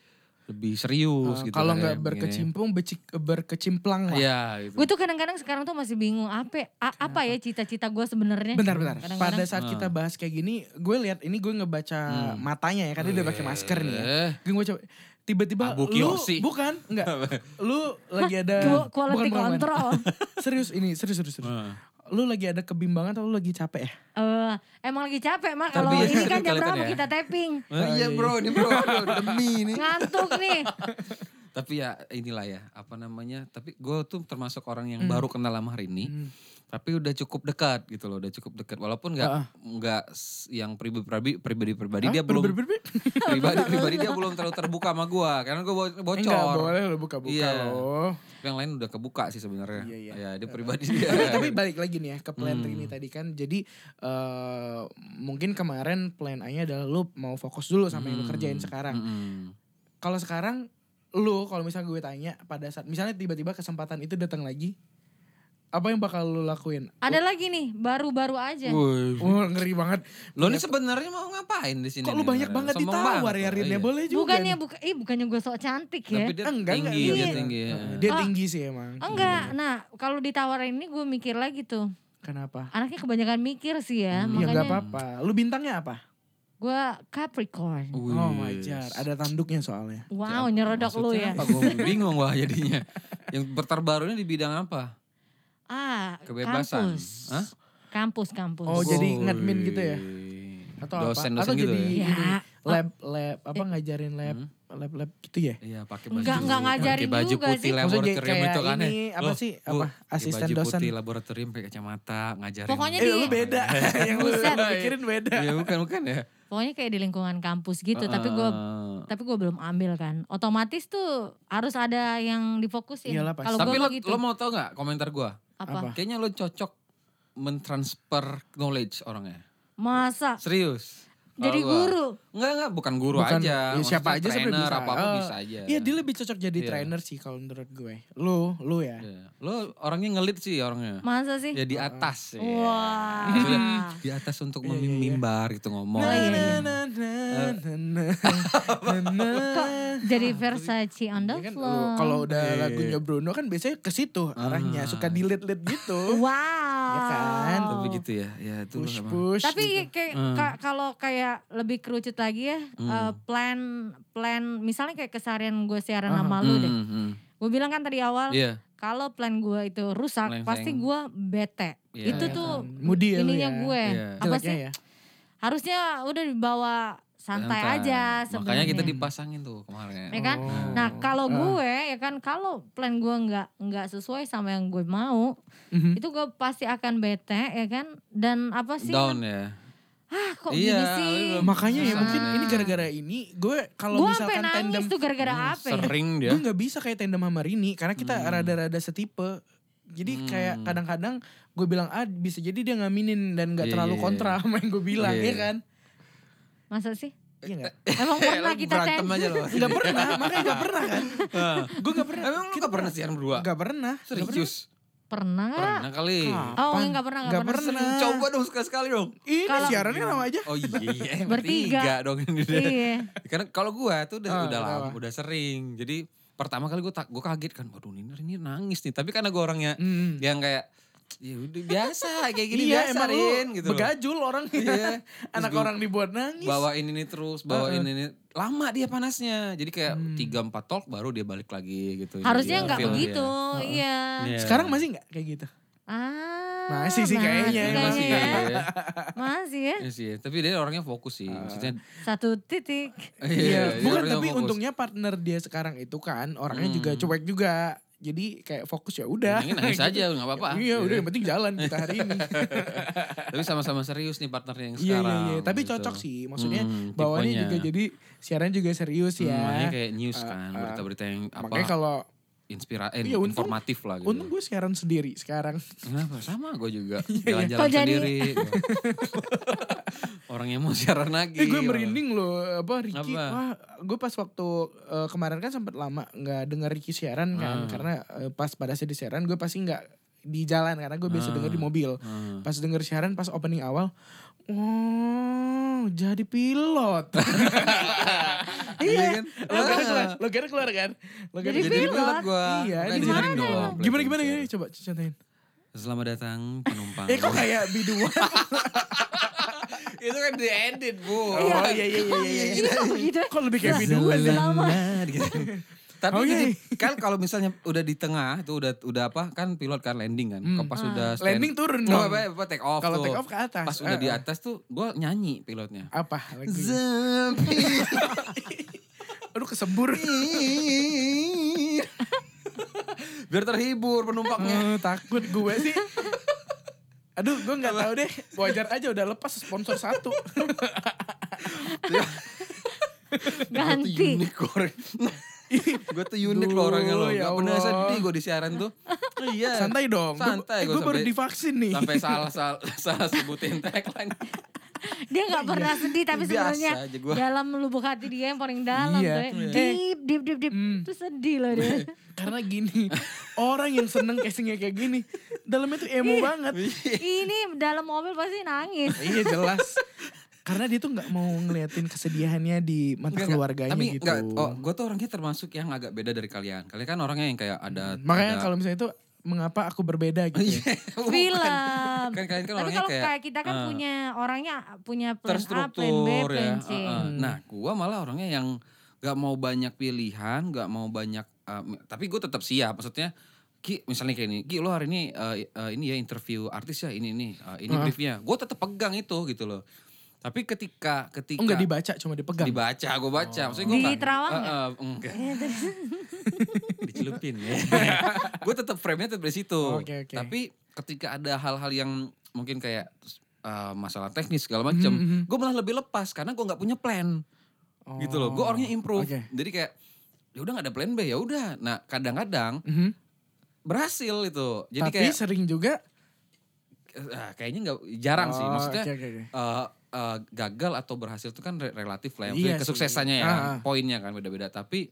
S3: lebih serius gitu.
S2: Eh, Kalau
S3: kan,
S2: nggak
S3: kayak
S2: berkecimpung, becik, berkecimplang lah.
S3: begini. Iya, gitu.
S5: Gue tuh kadang-kadang sekarang tuh masih bingung apa a- apa ya cita-cita gue sebenarnya.
S2: Bentar-bentar. Pada
S5: Kadang-kadang- kan.
S2: saat kita
S3: Ah.
S2: bahas kayak gini, gue lihat ini gue ngebaca
S3: Hmm.
S2: matanya ya, karena dia udah pakai masker nih. Ya.
S3: Eh,
S2: Gue coba tiba-tiba
S3: Abu
S2: lu
S3: Kiyoshi.
S2: bukan enggak. lu lagi ada
S5: Gua- quality control.
S2: serius ini, serius serius serius.
S3: Ah.
S2: Lu lagi ada kebimbangan atau lu lagi capek ya?
S5: Eh, emang lagi capek mah kalau
S3: Terbiasa
S5: ini kan jam
S3: kelihatan
S5: berapa
S3: ya.
S5: kita tapping.
S3: eh, iya bro, ini bro, aduh, demi ini.
S5: Ngantuk nih.
S3: Tapi ya inilah ya, apa namanya. Tapi gue tuh termasuk orang yang baru kenal lama hari ini.
S2: Hmm.
S3: Tapi udah cukup dekat gitu loh, udah cukup dekat. Walaupun nggak
S2: Ah.
S3: nggak s- yang pribadi pribadi pribadi dia
S2: Hah?
S3: belum
S2: Ber-ber-ber-ber.
S3: pribadi pribadi dia belum terlalu terbuka sama gue karena gue bocor
S2: Enggak boleh lu buka-buka
S3: Iya.
S2: loh.
S3: Tapi yang lain udah kebuka sih sebenarnya
S2: Iya, iya.
S3: ya dia pribadi dia
S2: Tapi- tapi balik lagi nih ya ke plan
S3: Hmm.
S2: Rini tadi kan jadi eh, mungkin kemarin plan A nya adalah lu mau fokus dulu sama
S3: Hmm.
S2: yang lu kerjain sekarang
S3: Mm-mm.
S2: kalau sekarang lu kalau misalnya gue tanya pada saat misalnya tiba-tiba kesempatan itu datang lagi apa yang bakal lu lakuin
S5: Ada lagi nih baru-baru
S2: Iya.
S5: aja.
S3: Woi.
S2: Wah ngeri banget
S3: lo ini sebenarnya mau ngapain di sini
S2: kok lu
S3: nih
S2: banyak
S3: sebenarnya?
S2: banget
S3: Sombong
S2: ditawar
S3: banget
S2: ya
S3: lo,
S2: Rin ya
S3: iya.
S2: boleh juga
S5: Bukannya
S2: nih.
S5: buka, eh bukannya gue sok cantik ya.
S3: tapi dia
S2: Enggak, enggak,
S3: tinggi
S2: iya.
S3: dia tinggi ya.
S2: dia tinggi sih emang
S3: iya.
S5: Enggak. Nah, kalau ditawarin ini gue mikir lagi tuh.
S2: kenapa
S5: Anaknya kebanyakan mikir sih
S2: ya
S5: ya,
S2: nggak
S5: makanya
S2: apa-apa lu bintangnya apa
S5: gue Capricorn.
S3: Wih.
S2: oh wajar ada tanduknya soalnya
S5: Wow, nyerodok lu
S3: Maksudnya
S5: ya.
S3: apa? Gua bingung wah jadinya yang berterbarunya di bidang apa
S5: Ah,
S3: Kebebasan.
S5: kampus.
S3: Hah?
S5: Kampus, kampus.
S2: Oh, jadi ngadmin gitu ya?
S3: Wih.
S2: atau apa
S3: dosen,
S2: atau
S3: dosen
S2: jadi
S3: gitu ya? Hmm?
S5: ya?
S2: ini,
S5: Ya. Eh.
S2: lab lab apa ngajarin lab lab lab gitu ya
S3: Iya pakai baju
S5: Enggak, enggak ngajarin
S3: pakai baju
S5: juga
S3: putih
S5: sih.
S2: Maksudnya
S3: laboratorium
S2: kayak
S3: itu kan ya.
S2: ini, apa
S3: Loh,
S2: sih,
S3: Bu,
S2: apa,
S3: pakai
S2: asisten
S3: baju
S2: dosen.
S3: putih laboratorium pakai kacamata ngajarin.
S5: Pokoknya
S2: eh
S5: di-
S2: lu beda yang lu
S5: Buset.
S2: pikirin beda
S3: Iya bukan bukan ya.
S5: Pokoknya kayak di lingkungan kampus gitu, tapi gue
S3: Heeh.
S5: tapi gue belum ambil kan. Otomatis tuh harus ada yang difokusin.
S2: Iyalah, pasti.
S5: Kalau
S3: Tapi
S5: gue
S3: lo,
S5: gitu.
S3: lo mau tau gak komentar gue?
S5: apa?
S3: Kayaknya lo cocok mentransfer knowledge orangnya.
S5: Masa
S3: Serius.
S5: jadi guru.
S3: Enggak, enggak. Bukan guru
S2: Bukan,
S3: aja.
S2: ya siapa aja
S3: sih
S2: sebenarnya bisa.
S3: apa-apa
S2: Eh,
S3: bisa aja.
S2: Iya dia lebih cocok jadi
S3: Iya.
S2: trainer sih kalau menurut gue. Lu, lu ya.
S3: Iya. Lo orangnya ngelit sih orangnya.
S5: Masa sih?
S3: Ya di atas. ya.
S5: Wah. Hmm.
S3: Maksudnya Di atas untuk
S2: Iya, iya, iya.
S3: memimbar gitu ngomong.
S5: Oh,
S2: Na,
S5: iya,
S2: na, na,
S3: Eh.
S2: na, na, na, na.
S5: Kok jadi Versace on
S2: Ya
S5: the
S2: kan, lu,
S5: floor.
S2: kalau udah
S3: Iya,
S2: lagunya Bruno kan biasanya ke situ arahnya
S3: Ah.
S2: suka dilit-lit gitu.
S5: Wow.
S2: Ya kan?
S3: Tapi gitu ya. Ya itu lo
S2: Push
S3: sama.
S2: push. gitu.
S5: Tapi kayak ka- kalau kayak lebih kerucut lagi ya, eh, plan plan misalnya kayak keseharian gue siaran sama lu deh.
S3: Hmm, hmm.
S5: Gue bilang kan tadi awal
S3: Iya.
S5: kalau plan gue itu rusak
S3: Melenceng.
S5: pasti gue bete.
S3: Iya.
S2: Ya
S5: Itu tuh
S2: kan. Moody ya lu
S5: ininya
S2: ya.
S5: gue.
S3: Iya.
S5: Apa
S2: Jeleknya
S5: sih?
S2: ya.
S5: Harusnya udah dibawa santai aja sebenarnya.
S3: Makanya kita dipasangin tuh kemarin.
S5: Ya kan?
S2: Oh.
S5: Nah kalau
S2: Ah.
S5: gue ya kan kalau plan gue nggak nggak sesuai sama yang gue mau,
S2: Mhm.
S5: itu gue pasti akan bete ya kan. Dan apa sih?
S3: Down ya.
S5: Ah kok
S3: Iya,
S5: gini sih?
S3: lu belum-
S2: Makanya ya
S3: Susah.
S2: mungkin ini gara-gara ini gue kalau
S5: Gue Ah. sampai
S2: misalkan tandem Hmm,
S5: nangis tuh gara-gara apa? ya?
S3: Hmm, Sering dia.
S2: gue nggak bisa kayak tandem sama Rini karena kita
S3: Hmm.
S2: rada-rada setipe. Jadi kayak
S3: Hmm.
S2: kadang-kadang gue bilang ah bisa jadi dia ngaminin dan nggak
S3: Iya,
S2: terlalu
S3: iya,
S2: kontra sama yang gue bilang
S3: Iya,
S2: ya
S3: iya.
S2: kan?
S5: Masa sih?
S2: Iya nggak?
S5: Emang
S3: Eh,
S5: pernah
S3: lu
S5: kita
S3: berantem
S5: ten-
S3: aja lo.
S2: Nggak pernah, makanya nggak pernah kan? gue nggak pernah.
S3: Emang lu gak pernah siaran berdua?
S2: Nggak pernah. nggak
S3: Serius?
S5: Pernah nggak?
S3: Pernah kali.
S2: pernah.
S5: Oh
S2: Kapan?
S5: enggak pernah, enggak
S2: Nggak
S5: pernah.
S2: pernah.
S3: Coba dong sekali-sekali dong.
S2: Ini
S5: Kalau-
S2: siarannya sama aja.
S3: Oh iya, iya emang
S5: Bertiga.
S3: bertiga dong ini deh.
S5: Iya.
S3: Karena kalau gua tuh udah
S2: Ah,
S3: udah
S2: kenapa?
S3: lama, udah sering. Jadi pertama kali gua tak gua kaget kan, waduh ini ini nangis nih. Tapi karena gua orangnya
S2: Hmm.
S3: yang kayak ya udah biasa kayak gini
S2: iya,
S3: biasa
S2: emang lu
S3: Rin gitu. loh.
S2: Begajul orang.
S3: Iya.
S2: Anak
S3: gua-
S2: orang dibuat nangis. Ah,
S3: Bawain ini terus, bawain ini lama dia panasnya. Jadi kayak
S2: Hmm.
S3: tiga empat talk baru dia balik lagi gitu.
S5: Harusnya
S3: Iya,
S5: nggak
S3: feel-nya.
S5: begitu, iya.
S3: Iya.
S2: Sekarang masih nggak kayak gitu?
S5: Ah,
S2: Masih sih kayaknya,
S5: masih,
S2: emang.
S3: Iya, masih
S5: ya.
S3: kali ya.
S5: Masih ya.
S3: Iya sih, tapi dia orangnya fokus sih. Maksudnya
S5: Satu titik.
S2: Ah. Iya,
S3: dia
S2: bukan
S3: orangnya
S2: tapi
S3: fokus.
S2: untungnya partner dia sekarang itu kan orangnya juga
S3: Hmm.
S2: cuek juga. Jadi kayak fokus ya udah.
S3: Ini nangis aja nggak apa-apa.
S2: Iya, udah yang penting jalan kita hari ini.
S3: Tapi sama-sama serius nih partnernya yang
S2: Iya,
S3: sekarang.
S2: iya, iya. Tapi
S3: gitu.
S2: cocok sih. Maksudnya
S3: Hmm,
S2: bawaannya
S3: tipenya.
S2: juga jadi siaran juga serius
S3: Hmm, makanya
S2: ya.
S3: kayak
S2: Eh,
S3: news kan,
S2: eh.
S3: berita-berita yang apa
S2: Makanya kalau
S3: inspira eh,
S2: Iya, untung-
S3: informatif lah gitu.
S2: untung Iya, gue siaran sendiri sekarang.
S3: Kenapa? Sama gue juga.
S5: Kok
S3: Jalan-jalan
S5: jadi-
S3: sendiri. Orang yang mau siaran lagi.
S2: Eh gue
S3: orang.
S2: merinding loh apa Ricky
S3: Apa?
S2: wah gue pas waktu eh, kemarin kan sempat lama nggak dengar Ricky siaran kan
S3: Hmm.
S2: karena eh, pas pada saat di siaran gue pasti nggak di jalan karena gue biasa
S3: Hmm.
S2: denger di mobil
S3: Hmm.
S2: pas denger siaran pas opening awal wow jadi pilot iya
S3: kan?
S2: lo kira keluar lo kira keluar kan lo kira
S5: Jadi
S3: Jadi
S5: pilot.
S3: pilot gue.
S2: Iya,
S3: Makanya
S2: di
S3: sering
S2: mana
S3: dong
S5: emang?
S3: play
S2: gimana
S3: concert.
S2: gimana gimana coba contohin
S3: Selamat datang penumpang.
S2: eh kok kayak biduan
S3: Itu kan di edit bu.
S2: oh iya iya iya iya
S5: Ini kok begitu?
S2: kok lebih kayak biduan ya?
S3: Selamat, gitu. Tapi
S2: Oke.
S3: jadi, kan kalau misalnya udah di tengah tuh udah udah apa kan pilot kan landing kan. Kalau Pas udah stand-
S2: Hmm, ah. landing turun
S3: Oh,
S2: dong
S3: apa, apa, take off
S2: Kalau
S3: tuh.
S2: take off ke atas. Ah,
S3: Pas udah di
S2: Heeh.
S3: atas tuh gua nyanyi pilotnya.
S2: apa lagunya?
S3: Zampi.
S2: Aduh kesembur.
S3: Iya. Biar terhibur
S2: Eh,
S3: penumpangnya.
S2: takut gue sih. Aduh, gue nggak tahu deh. Wajar aja udah lepas sponsor satu.
S5: Ganti.
S3: unicorn. gue tuh unik loh orangnya loh.
S2: Duh, ya
S3: Gak pernah
S2: Allah.
S3: sedih gue di siaran tuh. Iya.
S2: Santai dong.
S3: Santai
S2: gue
S3: gua
S2: baru
S3: sampai-
S2: divaksin nih.
S3: Sampai salah salah, salah sebutin tagline.
S5: Dia nggak pernah sedih tapi
S3: Iya. Biasa
S5: sebenarnya
S3: aja gua.
S5: dalam lubuk hati dia yang paling dalam
S2: Iya. Hmm.
S5: tuh ya. Deep, deep, deep, deep. Itu sedih loh dia.
S2: Karena gini, orang yang seneng casingnya kayak gini, dalamnya tuh emo banget.
S5: Ini dalam mobil pasti nangis.
S2: iya jelas. Karena dia tuh nggak mau ngeliatin kesedihannya di mata
S3: Enggak, enggak.
S2: keluarganya
S3: Tapi
S2: gitu.
S3: enggak, oh, gue tuh orangnya termasuk yang agak beda dari kalian. Kalian kan orangnya yang kayak ada.
S2: Makanya
S3: ada- Iya,
S2: kalau misalnya itu mengapa aku berbeda gitu. ya.
S3: Bukan.
S5: Film.
S3: Kan kalian kan
S5: Tapi
S3: orangnya
S5: kalau
S3: kayak,
S5: kayak kita kan
S3: eh,
S5: punya orangnya punya plan Nah, A, plan B,
S3: terstruktur ya.
S5: plan C. Hmm.
S3: heeh. Nah, gua malah orangnya yang gak mau banyak pilihan, gak mau banyak. eh, mi- tapi gue tetap siap. Maksudnya, Ki, misalnya kayak ini, Ki lo hari ini eh, eh, ini ya interview artis ya, ini ini, eh, ini briefnya. Gue tetap pegang itu gitu loh. Tapi ketika ketika
S2: Oh, nggak dibaca cuma dipegang.
S3: dibaca, gue baca. Maksudnya gue
S5: Di ya? terawang
S3: Eh, eh, enggak.
S5: Iya,
S3: Dicelupin ya. gue tetap frame-nya tetap di situ.
S2: Oke, oke.
S3: Tapi ketika ada hal-hal yang mungkin kayak eh, masalah teknis segala macam,
S2: Mhm,
S3: gue malah lebih lepas karena gue nggak punya plan. Gitu loh. Gue orangnya improve.
S2: Oh, Oke.
S3: Jadi kayak ya udah nggak ada plan B ya udah. Nah kadang-kadang
S2: Mhm.
S3: berhasil itu. Jadi
S2: Tapi
S3: kayak
S2: sering juga
S3: ah, kayaknya nggak jarang sih.
S2: Oh,
S3: Maksudnya
S2: oke, oke, oke.
S3: eh, eh, gagal atau berhasil itu kan re- relatif lah. Maksudnya
S2: Iya sih.
S3: kesuksesannya ya,
S2: Ah, ah.
S3: poinnya kan beda-beda. Tapi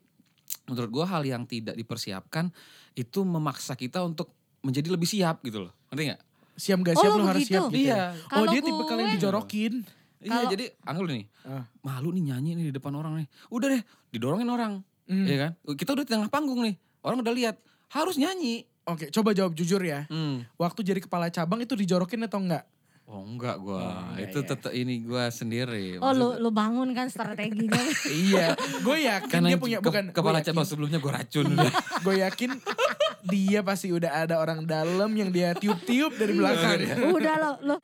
S3: menurut gua hal yang tidak dipersiapkan itu memaksa kita untuk menjadi lebih siap gitu loh. Ngerti nggak?
S2: siap gak
S5: Oh,
S2: siap
S5: lu
S2: lu harus
S5: begitu?
S2: siap gitu.
S3: Iya.
S2: ya? Oh
S5: Kalau
S2: dia tipe kalian
S5: gue-
S2: dijorokin.
S3: Iya
S5: Kalau-
S3: jadi Angga lu nih
S2: Ah.
S3: malu nih nyanyi nih di depan orang nih. Udah deh didorongin orang.
S2: Hmm.
S3: Iya kan? Kita udah di tengah panggung nih. Orang udah lihat harus nyanyi.
S2: Oke coba jawab jujur ya.
S3: Hmm.
S2: Waktu jadi kepala cabang itu dijorokin atau enggak?
S3: Oh enggak gua.
S2: enggak
S3: itu
S2: ya.
S3: tetep ini gua sendiri.
S5: Oh
S3: Iya, Maksudnya-
S5: lu lu bangun kan strateginya.
S2: iya. Gue yakin
S3: karena
S2: dia punya
S3: ke-
S2: bukan.
S3: kepala cabang sebelumnya gua racun.
S2: Gue yakin dia pasti udah ada orang dalam yang dia tiup-tiup dari
S5: Iya,
S3: Iya,
S5: kan?
S3: ya.
S2: belakang.
S5: Udah lo lo.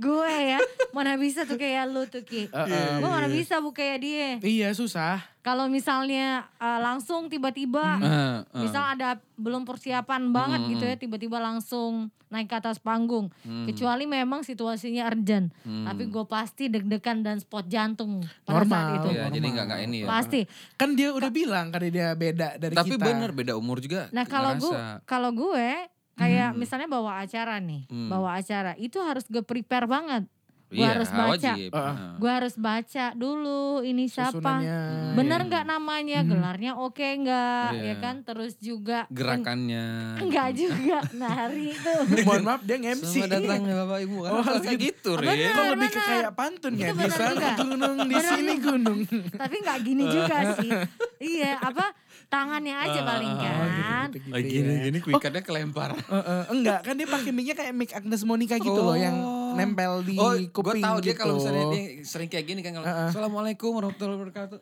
S5: gue ya mana bisa tuh kayak lu tuh Ki. Gue mana
S3: iya.
S5: bisa bu kayak dia.
S2: Iya susah.
S5: Kalau misalnya eh, langsung tiba-tiba
S2: Hmm.
S3: Eh, eh.
S5: misal ada belum persiapan banget
S3: Hmm,
S5: gitu ya tiba-tiba langsung naik ke atas panggung. Kecuali memang situasinya urgent.
S3: Hmm.
S5: Tapi gue pasti deg-degan dan spot jantung pada
S2: Normal.
S5: saat itu.
S3: Iya, jadi nggak nggak ini ya.
S5: Pasti.
S2: Kan dia udah bilang kan dia beda dari
S3: Tapi
S2: kita.
S3: benar beda umur juga.
S5: Nah kalau gue
S3: ngerasa.
S5: kalau gue
S2: Hmm.
S5: kayak misalnya bawa acara nih,
S3: Hmm.
S5: bawa acara itu harus gue prepare banget. Gue
S3: Iya,
S5: harus baca.
S3: Wajib.
S2: Heeh.
S3: Nah.
S5: Gue harus baca dulu ini siapa.
S2: Susunannya.
S5: Bener nggak namanya,
S2: Hmm.
S5: gelarnya oke nggak,
S3: Iya.
S5: ya kan? Terus juga
S3: Gerakannya.
S2: gitu.
S5: Eng- enggak juga nari itu.
S2: Mohon maaf dia MC.
S3: Selamat datang ya Bapak Ibu. Kan
S2: Oh,
S3: harus
S2: harus
S3: kayak gitu,
S5: Benar.
S3: Rin.
S2: Kok lebih ke
S5: benar.
S2: kayak pantun ya?
S5: Itu
S2: Di
S5: benar
S2: sana
S5: juga.
S2: gunung, di
S5: Benar
S2: sini
S5: juga.
S2: gunung. Oh, gitu,
S5: Tapi nggak gini juga sih. Iya, apa tangannya aja paling
S2: Oh,
S5: kan.
S2: gitu-gitu-gitu
S3: Lagi
S2: ya.
S3: gini gini kuikannya kelempar.
S2: Eh, eh, enggak kan dia pakai mic kayak mic Agnes Monica gitu loh yang
S3: Oh.
S2: nempel di
S3: Oh, gue
S2: kuping
S3: tahu dia
S2: gitu.
S3: kalau misalnya dia sering kayak gini kan kalau
S2: Heeh.
S3: Assalamualaikum warahmatullahi wabarakatuh.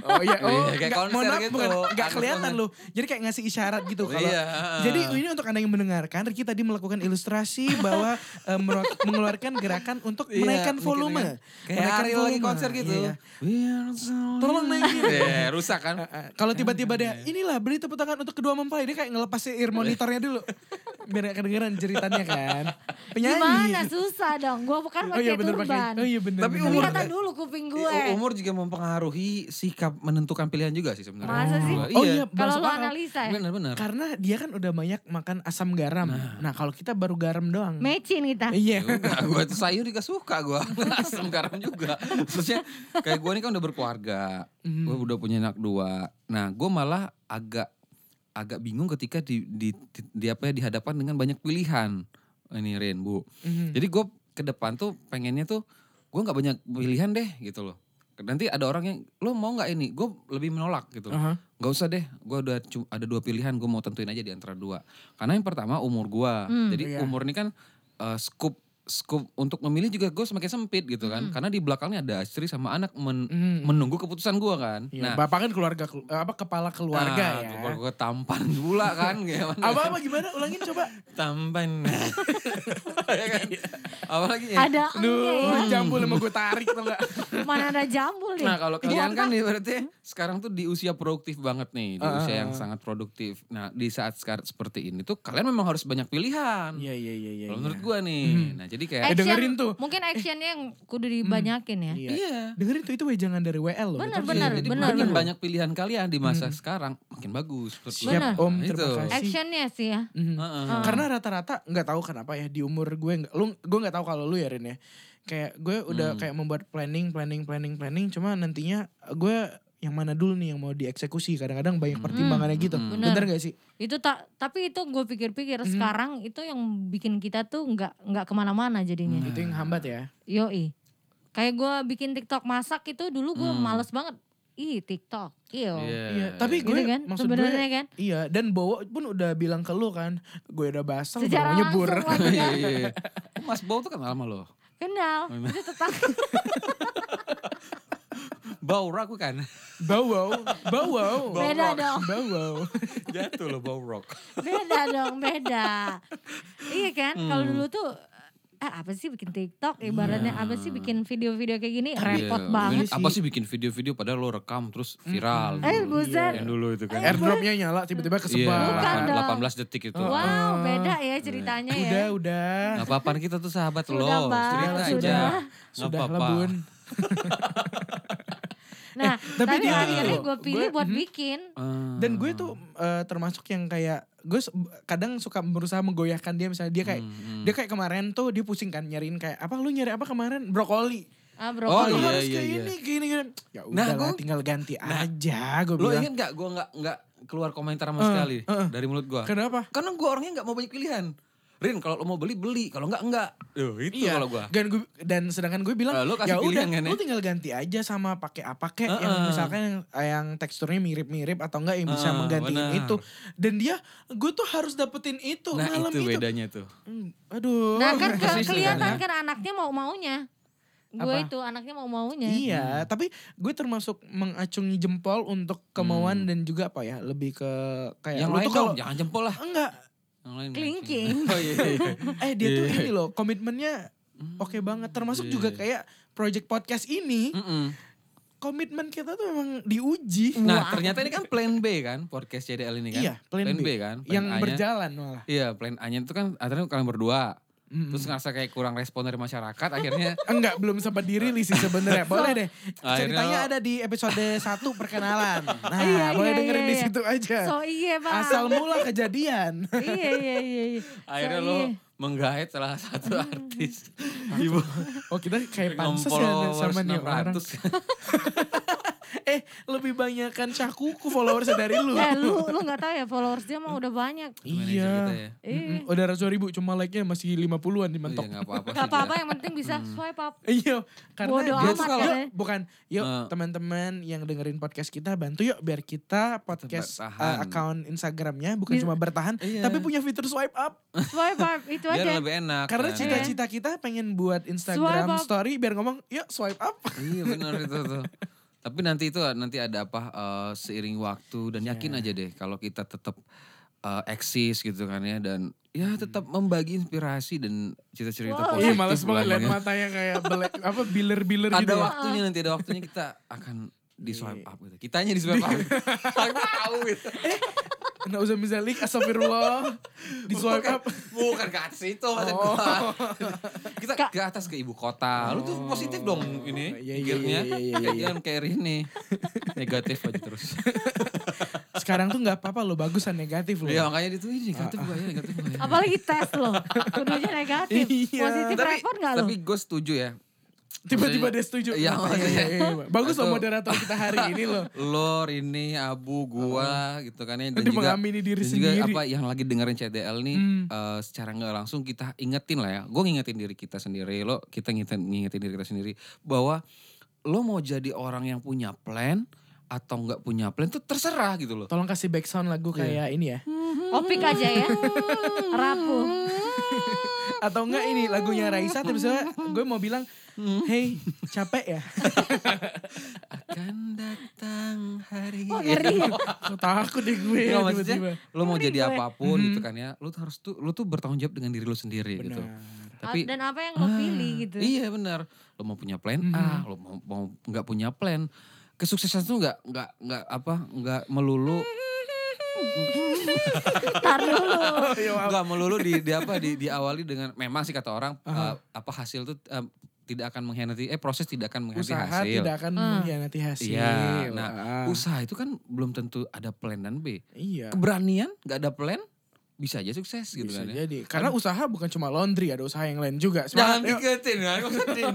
S2: Oh iya, oh,
S3: Iya, kayak
S2: enggak,
S3: konser
S2: mohon maaf
S3: gitu.
S2: bukan, enggak
S3: Agnes
S2: kelihatan
S3: Monica.
S2: loh. Jadi kayak ngasih isyarat gitu kalau
S3: Iya.
S2: Jadi ini untuk Anda yang mendengarkan, Ricky tadi melakukan ilustrasi bahwa eh, mero- mengeluarkan gerakan untuk
S3: Iya,
S2: menaikkan
S3: mungkin
S2: volume.
S3: kan. Kayak Ariel lagi konser gitu.
S2: Iya.
S3: Tolong
S2: Tolong naikin.
S3: Iya, rusak kan?
S2: Eh, eh, Kalau tiba-tiba dia,
S3: iya.
S2: inilah beri tepuk tangan untuk kedua mempelai. Dia kayak ngelepasin ear monitornya dulu. Biar gak kedengeran jeritannya kan. Penyanyi.
S5: Gimana susah dong. Gue bukan
S2: Oh iya
S5: pakai
S2: bener pakai.
S5: turban.
S2: Oh iya bener.
S3: Tapi
S2: bener.
S3: umur-
S5: Kelihatan dulu kuping gue.
S3: Umur juga mempengaruhi sikap menentukan pilihan juga sih sebenarnya.
S5: Masa sih?
S2: Oh iya,
S5: Kalau
S2: masuk
S5: lo
S2: akal.
S5: analisa ya,
S3: Benar-benar.
S2: Karena dia kan udah banyak makan asam garam. Nah, kalau kita baru garam doang.
S5: mecin kita.
S2: Iya.
S3: Enggak, gue Ya tuh sayur juga suka gue. Asam garam juga. Maksudnya kayak gue ini kan udah berkeluarga.
S2: Mhm.
S5: Hmm.
S3: Gue udah punya anak dua. Nah gue malah agak agak bingung ketika di, di, di, di apa ya dihadapkan dengan banyak pilihan ini Rin Bu.
S5: Hmm.
S2: Mhm.
S3: Jadi gue ke depan tuh pengennya tuh gue nggak banyak pilihan deh gitu loh. Nanti ada orang yang lo mau nggak ini? Gue lebih menolak gitu. loh.
S2: Aha.
S3: Gak usah deh, gue udah cu- ada dua pilihan, gue mau tentuin aja di antara dua. Karena yang pertama umur gue,
S5: Hmm.
S2: Iya.
S3: jadi umur ini kan eh, scoop scoop untuk memilih juga gue semakin sempit gitu
S2: Hmm.
S3: kan. Karena di belakangnya ada istri sama anak men-
S2: Mhm.
S3: menunggu keputusan gue kan.
S2: Iya, Bapak kan keluarga kelu- apa kepala keluarga
S3: nah,
S2: ya.
S3: Keluarga gue tampan pula kan, gimana?
S2: Apa apa gimana? Ulangin coba.
S3: Oh, Tampan. Ya kan?
S2: Iya.
S3: Apalagi ya?
S5: Ada engnya ya.
S2: Duh, jambul sama gue tarik tau gak?
S5: Mana ada jambul nih. Iya,
S3: Nah kalau kalian
S5: Buang
S3: kan berarti sekarang tuh di usia produktif banget nih, di
S2: Iya, Ah,
S3: usia
S2: ah,
S3: yang
S2: ah.
S3: sangat produktif. Nah di saat sekarang seperti ini tuh kalian memang harus banyak pilihan.
S2: Iya iya iya iya. iya.
S3: Kalau menurut gua nih,
S2: Mhm.
S3: nah jadi kayak
S2: Eh,
S5: action-
S2: dengerin tuh.
S5: Mungkin actionnya yang kudu dibanyakin
S2: Iya.
S5: ya.
S3: Hmm. iya.
S2: Dengerin tuh itu wejangan dari WL loh.
S5: Benar,
S2: Tapi-
S5: benar,
S3: jadi
S5: benar,
S3: makin
S5: benar.
S3: banyak pilihan kalian di masa sekarang makin bagus. menurut gua.
S2: Siap
S5: Benar.
S2: Om,
S3: Nah,
S2: terima
S3: itu.
S2: kasih.
S5: Actionnya sih ya.
S2: Mhm.
S3: Heeh.
S2: Karena rata-rata nggak tahu kenapa ya di umur gue nggak lu gue nggak tahu kalau lu ya Rin ya. Kayak gue udah
S3: Hmm.
S2: kayak membuat planning planning planning planning cuma nantinya gue yang mana dulu nih yang mau dieksekusi kadang-kadang banyak pertimbangannya gitu.
S3: Hmm.
S5: Bener.
S2: Bener gak sih?
S5: Itu tak tapi itu gue pikir-pikir sekarang itu yang bikin kita tuh nggak nggak kemana-mana jadinya.
S3: Hmm.
S2: Itu yang hambat ya.
S5: Yoi. Kayak gue bikin TikTok masak itu dulu gue
S3: Hmm.
S5: males banget. Ih TikTok. Iyo.
S3: Iya.
S2: Iya, tapi
S5: Gitu
S2: gue
S5: kan?
S2: maksud
S5: Sebenarnya
S2: gue,
S5: kan.
S2: Iya, dan Bowo pun udah bilang ke lu kan, gue udah basah, gue
S5: Secara
S2: mau nyebur.
S5: langsung lagi
S3: Iya,
S5: kan.
S3: iya, iya. Mas Bau tuh kenal sama lo.
S5: Kenal. Itu tetangga.
S3: Baurak kan.
S2: Bowo, Bowo.
S5: Beda dong.
S2: Bowo.
S3: Jatuh lo Baurak.
S5: beda dong beda iya kan
S3: Hmm.
S5: kalau dulu tuh ah, apa sih bikin TikTok ibaratnya
S3: Iya.
S5: apa sih bikin video-video kayak gini repot banget
S3: Apa sih bikin video-video padahal lo rekam terus viral.
S5: eh
S3: dulu.
S5: buset
S3: Yang dulu itu kan.
S2: Iya. Airdropnya nyala, tiba-tiba
S3: Iya,
S5: Bukan
S2: kesebar.
S5: dong.
S3: 18 detik itu.
S5: wow beda ya ceritanya ya
S2: Gitu. Udah, udah.
S3: Gak apa-apa kita tuh sahabat lo.
S5: Sudah, Bang,
S3: Cerita aja.
S5: sudah.
S3: Nggak
S2: Sudah
S3: apa-apa.
S2: lah bun.
S5: nah
S2: Eh, tapi
S5: tapi,
S2: dia-
S5: akhirnya
S2: Tuh,
S5: gue pilih
S2: gue-
S5: buat
S2: mhm.
S5: bikin
S3: Ah.
S2: Dan gue tuh eh, termasuk yang kayak, gue se- kadang suka berusaha menggoyahkan dia misalnya dia kayak,
S3: Hmm, hmm.
S2: dia kayak kemarin tuh dia pusing kan nyariin kayak, apa lu nyari apa kemarin? Brokoli.
S3: Oh,
S5: ah
S2: Lu
S5: brokoli
S3: iya,
S2: harus
S3: iya,
S2: kayak
S3: iya.
S2: ini, gini, gini. Ya udah
S3: Nah,
S2: lah,
S3: gue-
S2: tinggal ganti aja gue
S3: Lo
S2: bilang.
S3: inget gak gue gak, nggak keluar komentar sama
S2: Eh,
S3: sekali
S2: eh, eh.
S3: dari mulut gue?
S2: Kenapa?
S3: Karena gue orangnya gak mau banyak pilihan. Rin kalau lo mau beli, beli. Kalau enggak, enggak. Duh, itu
S2: Iya.
S3: kalau gue.
S2: Dan gue dan sedangkan gue bilang
S3: Eh, lu
S2: ya
S3: kasih
S2: udah,
S3: pilihan kan ya?"
S2: lu tinggal ganti aja sama pakai apa kek
S3: Heeh.
S2: yang misalkan yang, yang teksturnya mirip-mirip atau enggak yang bisa
S3: Ah,
S2: menggantiin
S3: benar.
S2: itu. Dan dia gue tuh harus dapetin itu
S3: Nah
S2: malam
S3: itu
S2: itu.
S3: bedanya tuh.
S2: Hmm, aduh.
S5: nah kan ke-
S3: Persis tuh,
S5: kelihatan
S3: kan,
S5: kan anaknya mau maunya gue
S2: Apa?
S5: itu anaknya mau maunya
S2: Iya, tapi gue termasuk mengacungi jempol untuk kemauan dan juga apa ya, lebih ke kayak
S3: Hmm. Yang
S2: lu
S3: lain
S2: tuh
S3: dong,
S2: kalau Ah,
S3: jangan jempol lah.
S2: enggak,
S3: Yang lain.
S5: Kelingking.
S3: Oh iya, iya.
S2: eh dia tuh ini loh komitmennya oke banget. Termasuk
S3: Iya. Hmm.
S2: juga kayak project podcast ini,
S3: Mm-mm.
S2: komitmen kita tuh memang diuji.
S3: Nah
S5: Wah.
S3: ternyata ini kan plan B kan podcast JDL ini kan.
S2: Iya, plan,
S3: plan
S2: B.
S3: B kan, plan
S2: yang
S3: A-nya.
S2: berjalan malah.
S3: Iya plan A-nya itu kan akhirnya kalian berdua.
S2: Mm.
S3: Terus ngerasa kayak kurang respon dari masyarakat akhirnya.
S2: Enggak, belum sempat dirilis sih sebenarnya. Boleh deh.
S3: Akhirnya-
S2: Ceritanya ada di episode 1 perkenalan. Nah,
S5: Iya,
S2: boleh
S5: iya,
S2: dengerin
S5: iya,
S2: di
S5: iya.
S2: situ aja.
S5: So iya pak.
S2: Asal mula kejadian.
S5: iya iya iya. iya.
S3: akhirnya
S5: so,
S3: lo
S5: iya.
S3: menggait salah satu
S5: Hmm.
S3: artis. Ibu
S2: Oh, kita kayak pansos
S3: Ngompol
S2: ya sama
S3: followers
S2: nih orang.
S3: 600.
S2: Eh, lebih banyakan Syahkuku followersnya dari lu.
S5: Eh lu lu nggak tahu ya followers dia mah udah banyak.
S3: Manajer kita
S2: Iya.
S3: ya.
S5: Iya.
S2: Mm-mm, Udah ratusan ribu, cuma like-nya masih 50-an di mentok.
S3: Iya nggak apa-apa sih.
S5: Gak apa-apa ya, yang penting bisa swipe up.
S2: Iya, karena
S5: Bodo
S2: dia
S3: amat
S2: tuh
S3: ya.
S2: yuk, bukan yuk
S3: Eh.
S2: teman-teman yang dengerin podcast kita bantu yuk biar kita podcast eh,
S3: Bertahan.
S2: account Instagramnya bukan
S5: Bisa.
S2: cuma bertahan
S3: Iya.
S2: tapi punya fitur swipe up
S5: Swipe up itu
S3: Biar
S5: aja.
S3: lebih enak.
S2: karena
S3: kan.
S2: cita-cita kita pengen buat
S5: Swipe
S2: Instagram
S5: up.
S2: story biar ngomong yuk swipe up.
S3: Iya benar itu tuh. Tapi nanti itu nanti ada apa eh, seiring waktu dan
S2: Iya.
S3: yakin aja deh kalau kita tetap eh, eksis gitu kan ya dan ya tetap membagi inspirasi dan cerita-cerita
S5: Wow.
S3: positif.
S2: Ih Iya, males banget
S3: lah,
S2: liat
S3: Bang, ya.
S2: matanya kayak belek, apa biler-biler
S3: Ada
S2: gitu. ya. Iya.
S3: waktunya nanti ada waktunya kita akan di swipe up gitu. Kitanya di swipe up. Aku tahu gitu.
S2: Nah usah misalnya astagfirullah di swipe up.
S3: Bukan ke atas itu maksud
S2: Oh.
S3: gua. Kita ke atas ke ibu kota. Lu tuh positif dong ini.
S2: Oh. Iya, iya,
S3: pikirnya.
S2: iya, iya, iya, iya.
S3: Jangan kayak ini. Negatif aja terus.
S2: Sekarang tuh nggak apa-apa loh bagusan negatif loh.
S3: Iya makanya itu ini negatif gua ya, negatif gua ya.
S5: Apalagi tes lo. Kudunya negatif.
S2: Iya.
S5: Positif repot gak lo?
S3: tapi gue setuju ya.
S2: Tiba-tiba
S3: Maksudnya-
S2: dia setuju. Oh,
S3: Iya, maksudnya.
S2: Bagus loh
S3: Itu-
S2: moderator kita hari ini loh.
S3: Lo, Rini, Abu, gua gitu kan ya. Dan
S2: Dia
S3: juga,
S2: mengamini diri
S3: dan juga
S2: sendiri.
S3: apa yang lagi dengerin CDL nih
S2: Hmm.
S3: eh, secara nggak langsung kita ingetin lah ya. Gue ngingetin diri kita sendiri, lo kita ngingetin, ngingetin diri kita sendiri bahwa lo mau jadi orang yang punya plan atau nggak punya plan itu terserah gitu loh.
S2: Tolong kasih back sound
S3: Iya.
S2: lagu kayak ini ya.
S5: Opik aja ya. Rapuh.
S2: Atau enggak ini lagunya Raisa terus misalnya gue mau bilang,
S3: Hmm.
S2: "Hey, capek ya?"
S3: Akan Kan datang hari
S5: Wah ngeri ya.
S2: Aku takut deh gue
S3: Nggak, Iya, maksudnya
S2: tiba-tiba.
S3: lo mau jadi
S5: gue.
S3: apapun gitu kan ya lo tuh harus tuh lo tuh bertanggung jawab dengan diri lo sendiri gitu tapi
S5: Ah, Dan apa yang lo
S2: Ah,
S5: pilih gitu.
S3: iya benar lo mau punya plan A lo mau mau nggak punya plan kesuksesan tuh nggak nggak nggak apa nggak melulu
S5: Ntar dulu.
S2: Oh, iya,
S3: nggak melulu di, di apa di diawali dengan memang sih kata orang eh, apa hasil tuh eh, tidak akan mengkhianati eh proses tidak akan mengkhianati
S2: Usaha
S3: hasil
S2: tidak akan mengkhianati hasil.
S3: iya nah
S2: Ah,
S3: usaha itu kan belum tentu ada plan dan B
S2: iya.
S3: keberanian nggak ada plan bisa aja sukses gitu
S2: Bisa
S3: kan ya
S2: jadi. Karena usaha bukan cuma laundry, ada usaha yang lain juga.
S3: Jangan
S2: Semangat, yuk.
S3: diingetin kan, maksudin.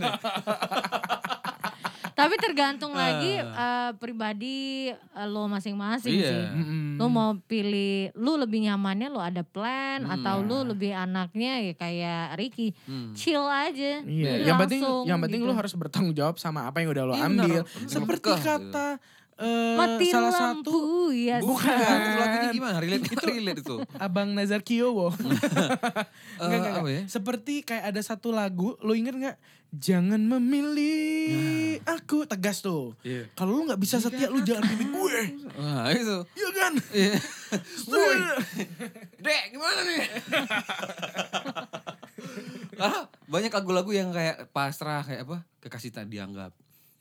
S5: Tapi tergantung lagi
S2: Ah.
S5: eh, pribadi eh, lo masing-masing
S3: Iya.
S5: sih.
S2: Mm-mm.
S5: Lo mau pilih, lu lebih nyamannya lo ada plan
S2: Hmm,
S5: atau lu
S2: iya.
S5: lebih anaknya ya kayak Ricky. Chill aja.
S2: Iya,
S5: Lu
S2: yang penting
S5: langsung
S2: yang penting
S5: gitu.
S2: lu harus bertanggung jawab sama apa yang udah lo
S3: Iya,
S2: ambil.
S3: benar. Penting
S2: Seperti
S3: ngekeh,
S2: kata eh,
S5: Mati
S2: salah
S5: lampu,
S2: satu
S5: ya.
S3: Bukan, itu lagunya gimana? Relate itu relate itu.
S2: Abang Nazar Kiowo.
S3: Eh,
S2: Nggak, nggak,
S3: apa
S2: nggak.
S3: ya?
S2: Seperti kayak ada satu lagu, lu inget nggak? Jangan memilih aku tegas tuh.
S3: Nah. Iya.
S2: Kalau lu nggak bisa setia, lu jangan pilih gue.
S3: Nah, itu.
S2: Iya kan?
S3: Iya.
S2: Woi.
S3: Dek, gimana nih? Karena Ah, banyak lagu-lagu yang kayak pasrah kayak apa? Kekasih tak dianggap.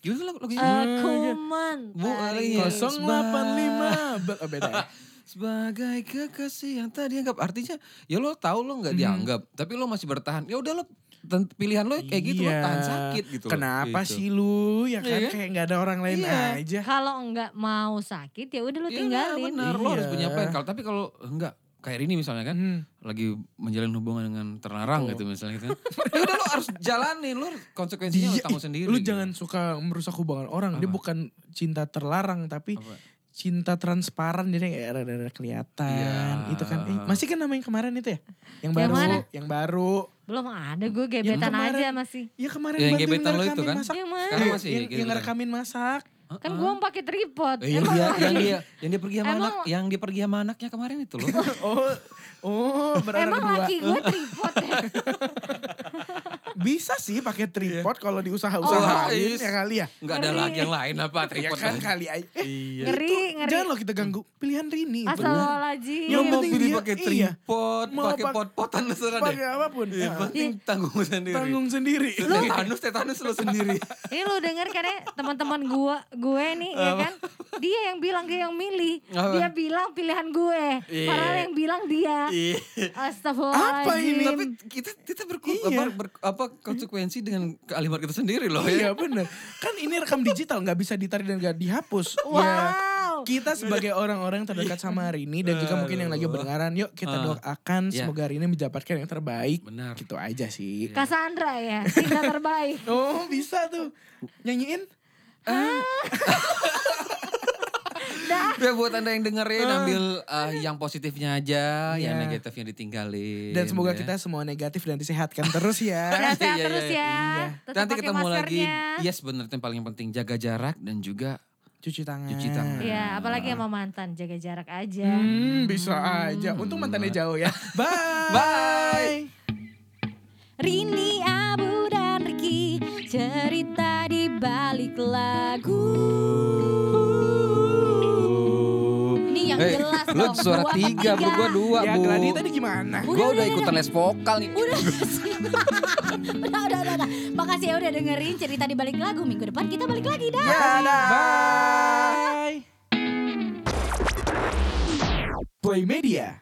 S3: Gimana tuh lagu
S5: Eh,
S3: lagunya?
S2: Iya,
S5: Aku mentari.
S3: Iya. Kos-
S2: 085. Be- oh, beda. ya?
S3: Sebagai kekasih yang tak dianggap artinya ya lo tahu lo nggak dianggap, tapi lo masih bertahan. Ya udah lo ten- pilihan lo kayak gitu lo
S2: Iya.
S3: tahan sakit gitu. loh.
S2: Kenapa
S3: Gitu.
S2: sih lu? Ya kan
S3: Iya.
S2: kayak nggak ada orang lain
S3: Iya.
S2: aja.
S5: Kalau enggak mau sakit ya udah lu
S3: Iya,
S5: tinggalin.
S3: benar, lo harus
S2: Iya.
S3: punya plan. Kalau tapi kalau enggak kayak ini misalnya kan
S2: Hmm.
S3: lagi menjalin hubungan dengan terlarang gitu misalnya gitu. ya udah lo harus jalanin, lo harus- konsekuensinya lo
S2: Iya,
S3: tanggung
S2: ih,
S3: sendiri.
S2: Lu
S3: gitu.
S2: jangan suka merusak hubungan orang. Dia bukan cinta terlarang tapi
S3: Apa?
S2: cinta transparan jadi kayak "Eh, rada-rada kelihatan
S3: Iya.
S2: itu kan. Eh, masih kan nama yang kemarin itu ya? Yang
S5: Yang
S2: baru,
S5: mana?
S2: yang baru.
S5: Belum ada gue gebetan
S2: kemarin.
S5: aja masih.
S2: Ya kemarin
S3: Ya, yang
S2: bantuin
S3: gebetan lo itu
S2: ngerekamin
S3: kan?
S2: Masak.
S5: Yang mana?
S3: Sekarang masih
S2: yang,
S3: kayak
S2: yang
S3: gitu.
S2: ngerekamin masak.
S5: Kan gue pakai tripod.
S2: Iya,
S3: Eh, yang
S5: Emang
S3: dia, yang
S5: lagi-
S3: dia, yang dia pergi sama
S5: Emang-
S3: anak, yang dia pergi sama anaknya kemarin itu loh.
S2: Oh, oh beranak
S5: Emang
S2: dua.
S5: laki gue tripod ya?
S2: bisa sih pakai
S3: Iya.
S2: tripod kalau
S3: Oh,
S2: diusaha-usahain
S3: is.
S2: ya kali ya.
S3: Nggak ada
S5: Ngeri.
S3: lagi yang lain apa
S2: Ya
S3: tripod.
S2: kan
S3: lagi.
S2: kali aja. Eh,
S3: Iya.
S5: Ngeri,
S2: itu
S5: ngeri.
S2: jangan loh kita ganggu pilihan Rini. bener.
S5: Astagfirullahaladzim.
S2: Yang
S3: Yang mau
S2: penting
S3: beli
S2: dia-
S3: pakai
S2: iya.
S3: tripod,
S2: Mau
S3: pakai
S2: pak-
S3: pot-potan terserah deh.
S2: Pakai apapun.
S3: Iya,
S2: Nah,
S3: penting tanggung sendiri.
S2: Tanggung sendiri.
S3: Tetanus, tetanus lo sendiri.
S5: Ini lu denger kan ya teman-teman gua, gue nih ya
S3: Apa?
S5: kan. Dia yang bilang dia yang milih.
S3: Apa?
S5: Dia bilang pilihan gue.
S3: Iya.
S5: Padahal yang bilang dia.
S3: Iya.
S5: Astagfirullahaladzim.
S2: Apa ini?
S3: Tapi kita kita berku,
S2: Iya.
S3: apa, ber- apa konsekuensi dengan kalimat kita sendiri loh
S2: Iya
S3: ya.
S2: bener. Kan ini rekam digital nggak bisa ditarik dan nggak dihapus.
S5: Wow.
S2: Ya,
S3: iya.
S2: Kita sebagai orang-orang yang terdekat sama Rini dan juga mungkin yang lagi
S3: Aduh.
S2: berdengaran, yuk kita
S3: Ah.
S2: doakan
S3: Iya.
S2: semoga Rini mendapatkan yang terbaik.
S3: Benar. Iya.
S2: Gitu aja sih.
S5: Cassandra ya, cinta terbaik.
S2: Oh bisa tuh. Nyanyiin?
S3: Ya buat anda yang dengerin ambil eh, yang positifnya aja, yang
S2: Ah. Iya.
S3: negatifnya ditinggalin.
S2: Dan semoga
S3: ya.
S2: kita semua negatif dan disehatkan terus ya.
S5: Sehat-sehat
S3: Iya,
S5: terus
S3: iya,
S5: ya.
S2: iya.
S5: Tetap
S3: nanti
S5: pakai
S3: ketemu lagi. Iya.
S5: maskernya.
S3: Yes bener itu yang paling penting jaga jarak dan juga
S2: Cuci tangan.
S3: Cuci tangan.
S5: Iya, apalagi sama mantan jaga jarak aja.
S2: Hmm, bisa aja. Untung mantannya jauh ya. Bye.
S3: Hmm. Bye.
S5: Rini Abu dan Ricky cerita di balik lagu. Ini
S3: Eh,
S5: yang
S4: Hey,
S5: jelas
S4: Eh, lu
S5: dong.
S4: suara
S5: dua per
S4: tiga, bro. Gua dua,
S2: Ya
S4: bu.
S2: Gladi tadi gimana?
S4: Gue udah ikutan les vokal nih.
S5: Udah, udah, udah, udah, udah. Makasih ya udah dengerin cerita di balik lagu. Minggu depan kita balik lagi dah.
S4: Ya,
S2: Bye. Play Media.